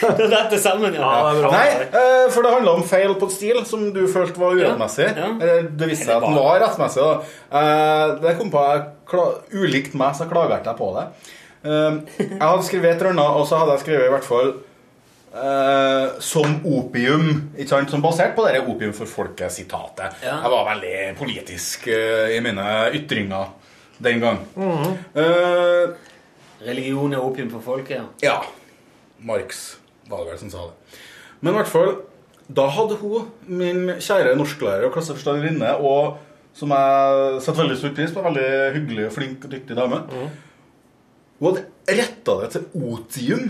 [SPEAKER 2] Da datt det sammen, ja.
[SPEAKER 12] Nei, eh, for det handla om feil på et stil som du følte var urettmessig. Eller det viste seg at den var rettmessig. Da. Eh, Det kom på jeg kla- Ulikt meg, så klaga ikke jeg på det. Eh, Jeg hadde skrevet et eller annet, og så hadde jeg skrevet i hvert fall eh, som opium, ikke sant? som basert på det der opium for folket-sitatet.
[SPEAKER 14] Ja.
[SPEAKER 12] Jeg var veldig politisk eh, i mine ytringer den gang. Eh,
[SPEAKER 2] Religion er opium for folket, ja.
[SPEAKER 12] ja. Marx var det vel som sa det. Men i hvert fall, da hadde hun, min kjære norsklærer og klasseforstanderinne, og som jeg setter veldig stor pris på, veldig hyggelig, flink og dyktig dame, hun hadde retta det til otium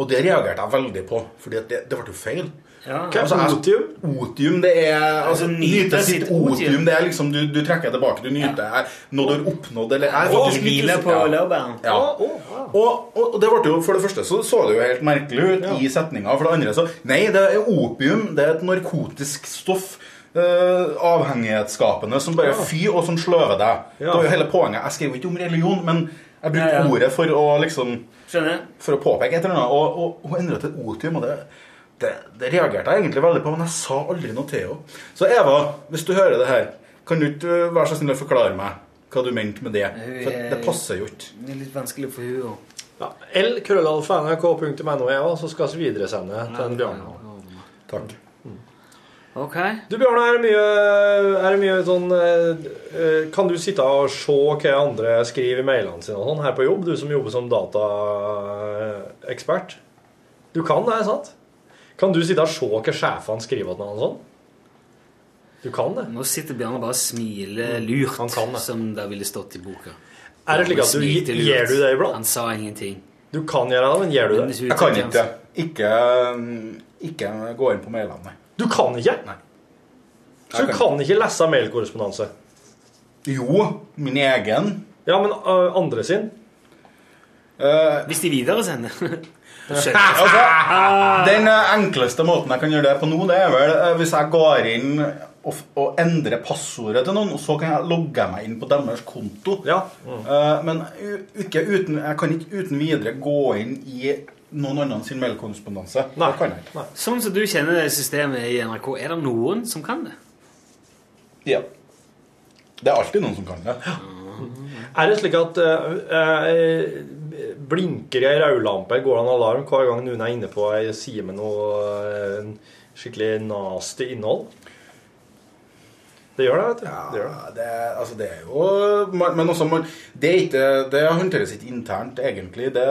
[SPEAKER 12] Og det reagerte jeg veldig på, for det, det ble jo feil.
[SPEAKER 13] Ja.
[SPEAKER 12] Hva er otium? Otium, det er altså, Nyte sitt otium. Det er liksom du, du trekker tilbake, du nyter her, noe du har oppnådd eller jeg er
[SPEAKER 13] Å,
[SPEAKER 12] faktisk litt
[SPEAKER 13] hvile
[SPEAKER 12] usikker.
[SPEAKER 13] på
[SPEAKER 12] Ja.
[SPEAKER 13] laurbæren.
[SPEAKER 12] Ja. Og, og det ble jo, for det første så, så det jo helt merkelig ut i setninga. For det andre så Nei, det er opium. Det er et narkotisk stoff. eh, avhengighetsskapende som bare
[SPEAKER 6] Ja.
[SPEAKER 12] fy, og som sløver deg. Det
[SPEAKER 6] Ja.
[SPEAKER 12] var jo hele poenget. Jeg skrev jo ikke om religion, men jeg brukte
[SPEAKER 6] Ja, ja.
[SPEAKER 12] ordet for å liksom
[SPEAKER 13] Skjønner.
[SPEAKER 12] For å påpeke et eller annet. Og, og hun endret til otium, og det, det, det reagerte jeg egentlig veldig på, men jeg sa aldri noe til henne. Så Eva, hvis du hører det her, kan du ikke eh, være så snill å forklare meg hva du mente med det? For
[SPEAKER 6] Eh,
[SPEAKER 12] det passer jo ikke.
[SPEAKER 13] Det er litt vanskelig for henne òg.
[SPEAKER 4] Ja, L.krøllalfa.nrk.no, Eva, E, så skal vi videresende til en Bjarne.
[SPEAKER 12] Takk.
[SPEAKER 13] Ok.
[SPEAKER 4] Du, Bjarne, er det mye, er det mye sånn eh, eh, Kan du sitte og se hva andre skriver i mailene sine og sånn her på jobb? Du som jobber som dataekspert. Du kan det, sant? Kan du sitte og se hva sjefene skriver til hverandre sånn? Du kan det.
[SPEAKER 13] Nå sitter Bjarne og bare
[SPEAKER 4] Mm.
[SPEAKER 13] smiler lurt, som det ville stått i boka.
[SPEAKER 4] Er det slik at du-
[SPEAKER 13] Smilte lurt.
[SPEAKER 4] gjør du det iblant?
[SPEAKER 13] Han sa ingenting.
[SPEAKER 4] Du kan gjøre det, men gjør du det?
[SPEAKER 12] Jeg kan ikke. Ikke, mm, ikke gå inn på mailene, nei.
[SPEAKER 4] Du kan ikke? Så du
[SPEAKER 12] Jeg kan
[SPEAKER 4] kan ikke lese mailkorrespondanse?
[SPEAKER 12] Jo, min egen.
[SPEAKER 4] Ja, men ø, andre sin?
[SPEAKER 13] Hvis de videresender.
[SPEAKER 12] Eh, altså, den eh, enkleste måten jeg kan gjøre det på nå, det er vel eh, hvis jeg går inn og, f- og endrer passordet til noen, og så kan jeg logge meg inn på deres konto. Eh, men u- ikke uten, jeg kan ikke uten videre gå inn i noen annen sin mailkorrespondanse. Det kan jeg ikke.
[SPEAKER 13] Sånn som du kjenner det systemet i NRK, er det noen som kan det?
[SPEAKER 12] Ja. Det er alltid noen som kan det.
[SPEAKER 4] Er det slik at eh, eh, blinker ei rødlampe eller går det en alarm hver gang noen er inne på ei side med noe eh, skikkelig nasty innhold? Det gjør det, vet du. Det gjør det.
[SPEAKER 12] Ja, det, er- altså det er jo man- Men også man, det, er ikke, det håndteres ikke internt, egentlig. Det,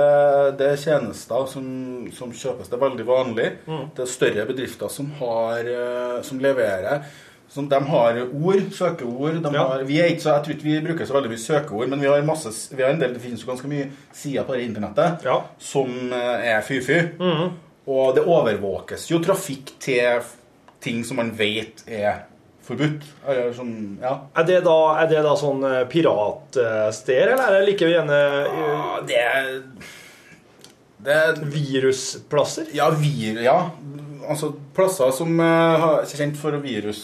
[SPEAKER 12] det er tjenester som, som kjøpes. Det er veldig vanlig.
[SPEAKER 6] Mm.
[SPEAKER 12] Det er større bedrifter som, har, eh, som leverer. Som de har ord, søkeord. De har, vi er ikke så, jeg tror ikke vi bruker så veldig mye søkeord, men vi har, masse, s- vi har en del, det finnes jo ganske mye sider på det internettet som eh, er fy-fy. Og det overvåkes jo trafikk til f- ting som man vet er forbudt. Eller som, ja.
[SPEAKER 4] Er det da, er det da sånn eh, piratsteder, eller er det like gjerne eh,
[SPEAKER 12] Ah, det er,
[SPEAKER 4] Virusplasser?
[SPEAKER 12] Ja, vir, ja. Altså, plasser som eh, har- er kjent for virus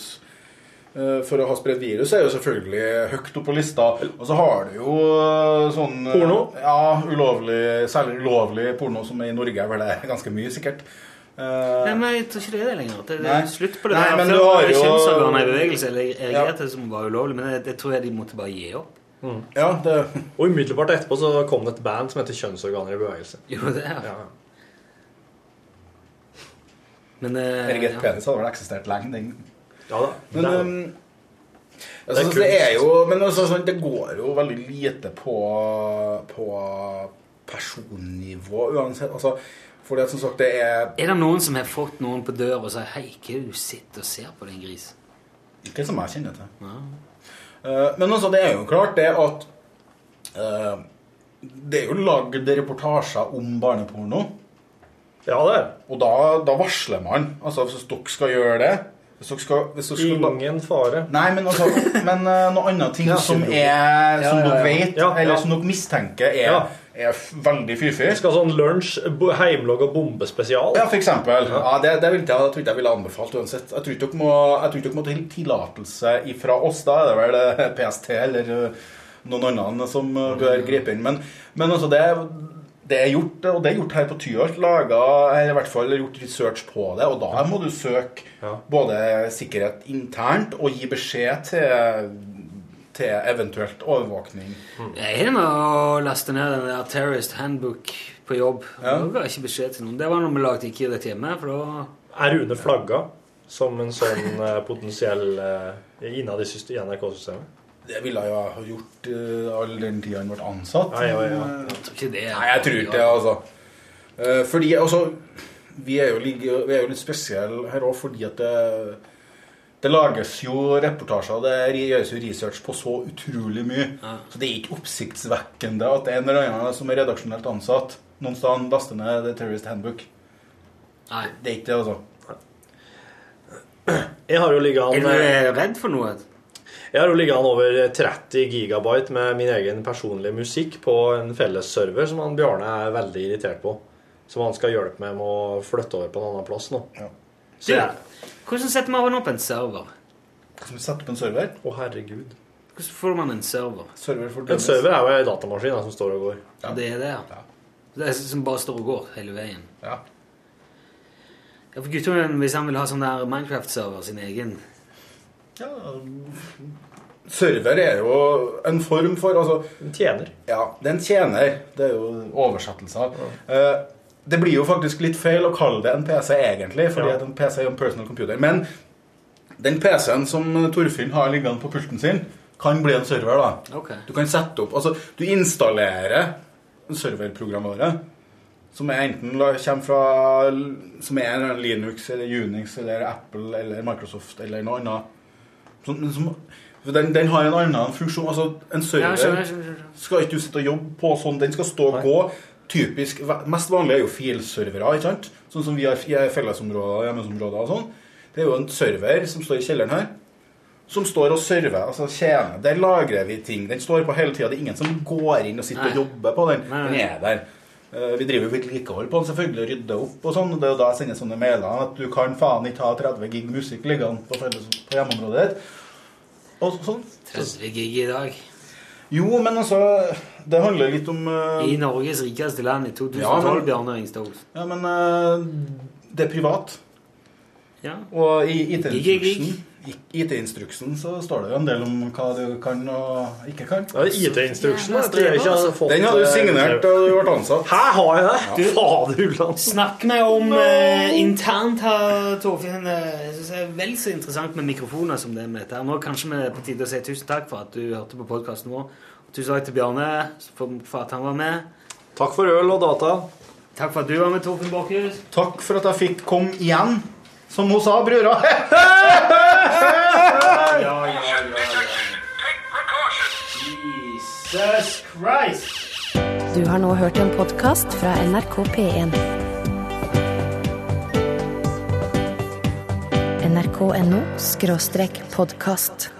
[SPEAKER 12] eh, for å ha spredt virus er jo selvfølgelig høyt opp på lista. Og så har du jo eh, sånn eh,
[SPEAKER 4] Porno?
[SPEAKER 12] Ja, ulovlig, særlig ulovlig porno, som er i Norge er vel det ganske mye, sikkert. Eh,
[SPEAKER 13] Nei, men Jeg tror ikke det er det lenger. Det, det
[SPEAKER 12] Nei.
[SPEAKER 13] er slutt på det
[SPEAKER 12] Nei,
[SPEAKER 13] der.
[SPEAKER 12] men
[SPEAKER 13] Før
[SPEAKER 12] du
[SPEAKER 13] var
[SPEAKER 12] har
[SPEAKER 13] det
[SPEAKER 12] jo-
[SPEAKER 13] kjønnsorganene i bevegelse eller
[SPEAKER 12] Ja.
[SPEAKER 13] erigerte som var ulovlig, men det, det tror jeg de måtte bare gi opp.
[SPEAKER 4] Og umiddelbart etterpå så kom det et band som heter Kjønnsorganer i bevegelse.
[SPEAKER 13] Jo, det er.
[SPEAKER 4] Ja.
[SPEAKER 13] Men, eh,
[SPEAKER 12] Erigert
[SPEAKER 13] ja.
[SPEAKER 12] penis hadde vel eksistert lenge, den.
[SPEAKER 4] Ja da.
[SPEAKER 12] Men,
[SPEAKER 4] Det er-
[SPEAKER 12] ehm, jeg
[SPEAKER 4] Det er
[SPEAKER 12] synes det
[SPEAKER 4] kunst.
[SPEAKER 12] er jo Men altså, sånn, det går jo veldig lite på, på personnivå uansett. Altså, fordi at som sagt, det er
[SPEAKER 13] Er det noen som har fått noen på døra og sagt 'Hei, hva er det du sitter og ser på, din gris'?
[SPEAKER 12] Ikke som jeg kjenner til. Eh, Men altså, det er jo klart det at eh, Det er jo lagd reportasjer om barneporno.
[SPEAKER 4] Ja, det er
[SPEAKER 12] Og da, da varsler man. Altså, hvis dere skal gjøre det hvis dere skal, hvis dere skal
[SPEAKER 4] Ingen fare.
[SPEAKER 12] Nei, men altså Men eh, noen andre ting
[SPEAKER 4] Ja.
[SPEAKER 12] som er
[SPEAKER 4] Ja, ja, ja.
[SPEAKER 12] Som dere vet,
[SPEAKER 4] Ja, ja.
[SPEAKER 12] eller som dere mistenker er,
[SPEAKER 4] Ja.
[SPEAKER 12] er f- veldig fy-fy
[SPEAKER 4] Vi skal ha sånn lunsj, bo- heimlag og bombespesial.
[SPEAKER 12] Ja, for eksempel. Ja, det, det vil jeg, jeg tror ikke jeg ville anbefalt uansett. Jeg tror ikke dere må, jeg tror ikke dere må til tillatelse fra oss. Da er det vel eh, PST eller eh, noen andre som eh, bør gripe inn. Men, men altså, det, det er gjort, og det er gjort her på Tyholt. Laga, eller i hvert fall gjort research på det, og da må du søke både sikkerhet internt og gi beskjed til, til eventuelt overvåkning.
[SPEAKER 13] Jeg er med å laste ned den der Terrorist Handbook på jobb. Det var ikke beskjed til noen. Det var når vi lagde ikke det hjemme, for da
[SPEAKER 4] Er Rune flagga som en sånn eh, potensiell eh, innad i syste- i NRK-systemet?
[SPEAKER 12] Det ville jeg jo ha gjort eh, all den tida han ble ansatt.
[SPEAKER 4] Ja, ja, ja.
[SPEAKER 12] Eh,
[SPEAKER 13] Jeg tror ikke det.
[SPEAKER 12] Nei, jeg tror ikke det, altså. Eh, Fordi, altså Vi er jo, lig- vi er jo litt spesielle her òg fordi at det, det lages jo reportasjer, det re- gjøres jo research på så utrolig mye. Så det er ikke oppsiktsvekkende at en eller annen som er redaksjonelt ansatt, noen steder laster ned The Terrorist Handbook.
[SPEAKER 2] Nei.
[SPEAKER 12] Det er ikke det, altså.
[SPEAKER 4] Jeg har jo ligget an eh,
[SPEAKER 2] Er du eh, redd for noe?
[SPEAKER 4] Jeg har jo ligget an over 30 gigabyte med min egen personlige musikk på en fellesserver som han Bjarne er veldig irritert på. Som han skal hjelpe meg med å flytte over på en annen plass nå. Så
[SPEAKER 2] Du,
[SPEAKER 4] jeg-
[SPEAKER 2] hvordan setter man opp en server?
[SPEAKER 12] Hvordan setter opp en server?
[SPEAKER 4] Å, herregud.
[SPEAKER 2] Hvordan får man en server?
[SPEAKER 4] En server er jo en datamaskin da, som står og går.
[SPEAKER 2] Det er det, ja. Det er som bare står og går hele veien.
[SPEAKER 12] Ja.
[SPEAKER 2] for guttungen, hvis han vil ha sånn der Minecraft-server, sin egen
[SPEAKER 12] Ja, Server er jo en form for altså,
[SPEAKER 4] En tjener.
[SPEAKER 12] Ja, det er en tjener. Det er jo oversettelser. Eh, det blir jo faktisk litt feil å kalle det en PC, egentlig, fordi
[SPEAKER 4] Ja.
[SPEAKER 12] at en PC er jo en personal computer. Men den PC-en som eh, Torfinn har liggende på pulten sin, kan bli en server, da.
[SPEAKER 2] Ok.
[SPEAKER 12] Du kan sette opp Altså, du installerer serverprogramvare som er enten la- kommer fra Som er en eller annen Linux eller Unix eller Apple eller Microsoft eller noe annet. Som, men som, for den, den har en annen funksjon. Altså, en server
[SPEAKER 2] Ja, skjønner, skjønner, skjønner.
[SPEAKER 12] skal ikke du sitte og jobbe på sånn. Den skal stå og gå. Typisk, ve- Mest vanlig er jo filservere, ikke sant? Sånn som vi har f- i fellesområder og hjemmesområder og sånn. Det er jo en server som står i kjelleren her, som står og server, altså tjener. Der lagrer vi ting. Den står på hele tida. Det er ingen som går inn og sitter og
[SPEAKER 2] Nei.
[SPEAKER 12] jobber på den.
[SPEAKER 2] Nei, nei,
[SPEAKER 12] Den er der. Eh, Vi driver jo vedlikehold på den, selvfølgelig, og rydder opp og sånn. og Det er jo da jeg sender sånne mailer at du kan faen ikke ha 30 gig musikk liggende på, felles, på hjemmeområdet ditt. Og sånn.
[SPEAKER 2] 30 gig i dag.
[SPEAKER 12] Jo, men altså Det handler litt om eh,
[SPEAKER 2] I Norges rikeste land i 2012,
[SPEAKER 12] Ja, men-
[SPEAKER 2] Bjarne Ringstad.
[SPEAKER 12] Ja, men eh, det er privat.
[SPEAKER 2] Ja.
[SPEAKER 12] Og i
[SPEAKER 2] Gig, gig,
[SPEAKER 12] IT-instruksen i IT-instruksen så står det jo en del om hva du kan og ikke kan.
[SPEAKER 4] Ja, IT-instruksen, jeg tror jeg ikke hadde fått,
[SPEAKER 12] Den hadde du
[SPEAKER 4] eh,
[SPEAKER 12] signert da du ble ansatt.
[SPEAKER 4] Her har jeg det! Fader ulland.
[SPEAKER 2] Snakk med om eh, internt her, Torfinn. Eh, Jeg synes det er vel så interessant med mikrofoner som det med dette. her. Nå er kanskje vi på tide å si tusen takk for at du hørte på podkasten vår. Og tusen takk til Bjarne for, for at han var med.
[SPEAKER 4] Takk for øl og data.
[SPEAKER 2] Takk for at du var med, Torfinn Borchhus.
[SPEAKER 12] Takk for at jeg fikk komme igjen, som hun sa, brura.
[SPEAKER 2] Jesus Christ!
[SPEAKER 1] Du har nå hørt en podkast fra NRK P1. NRK.no skråstrek podkast.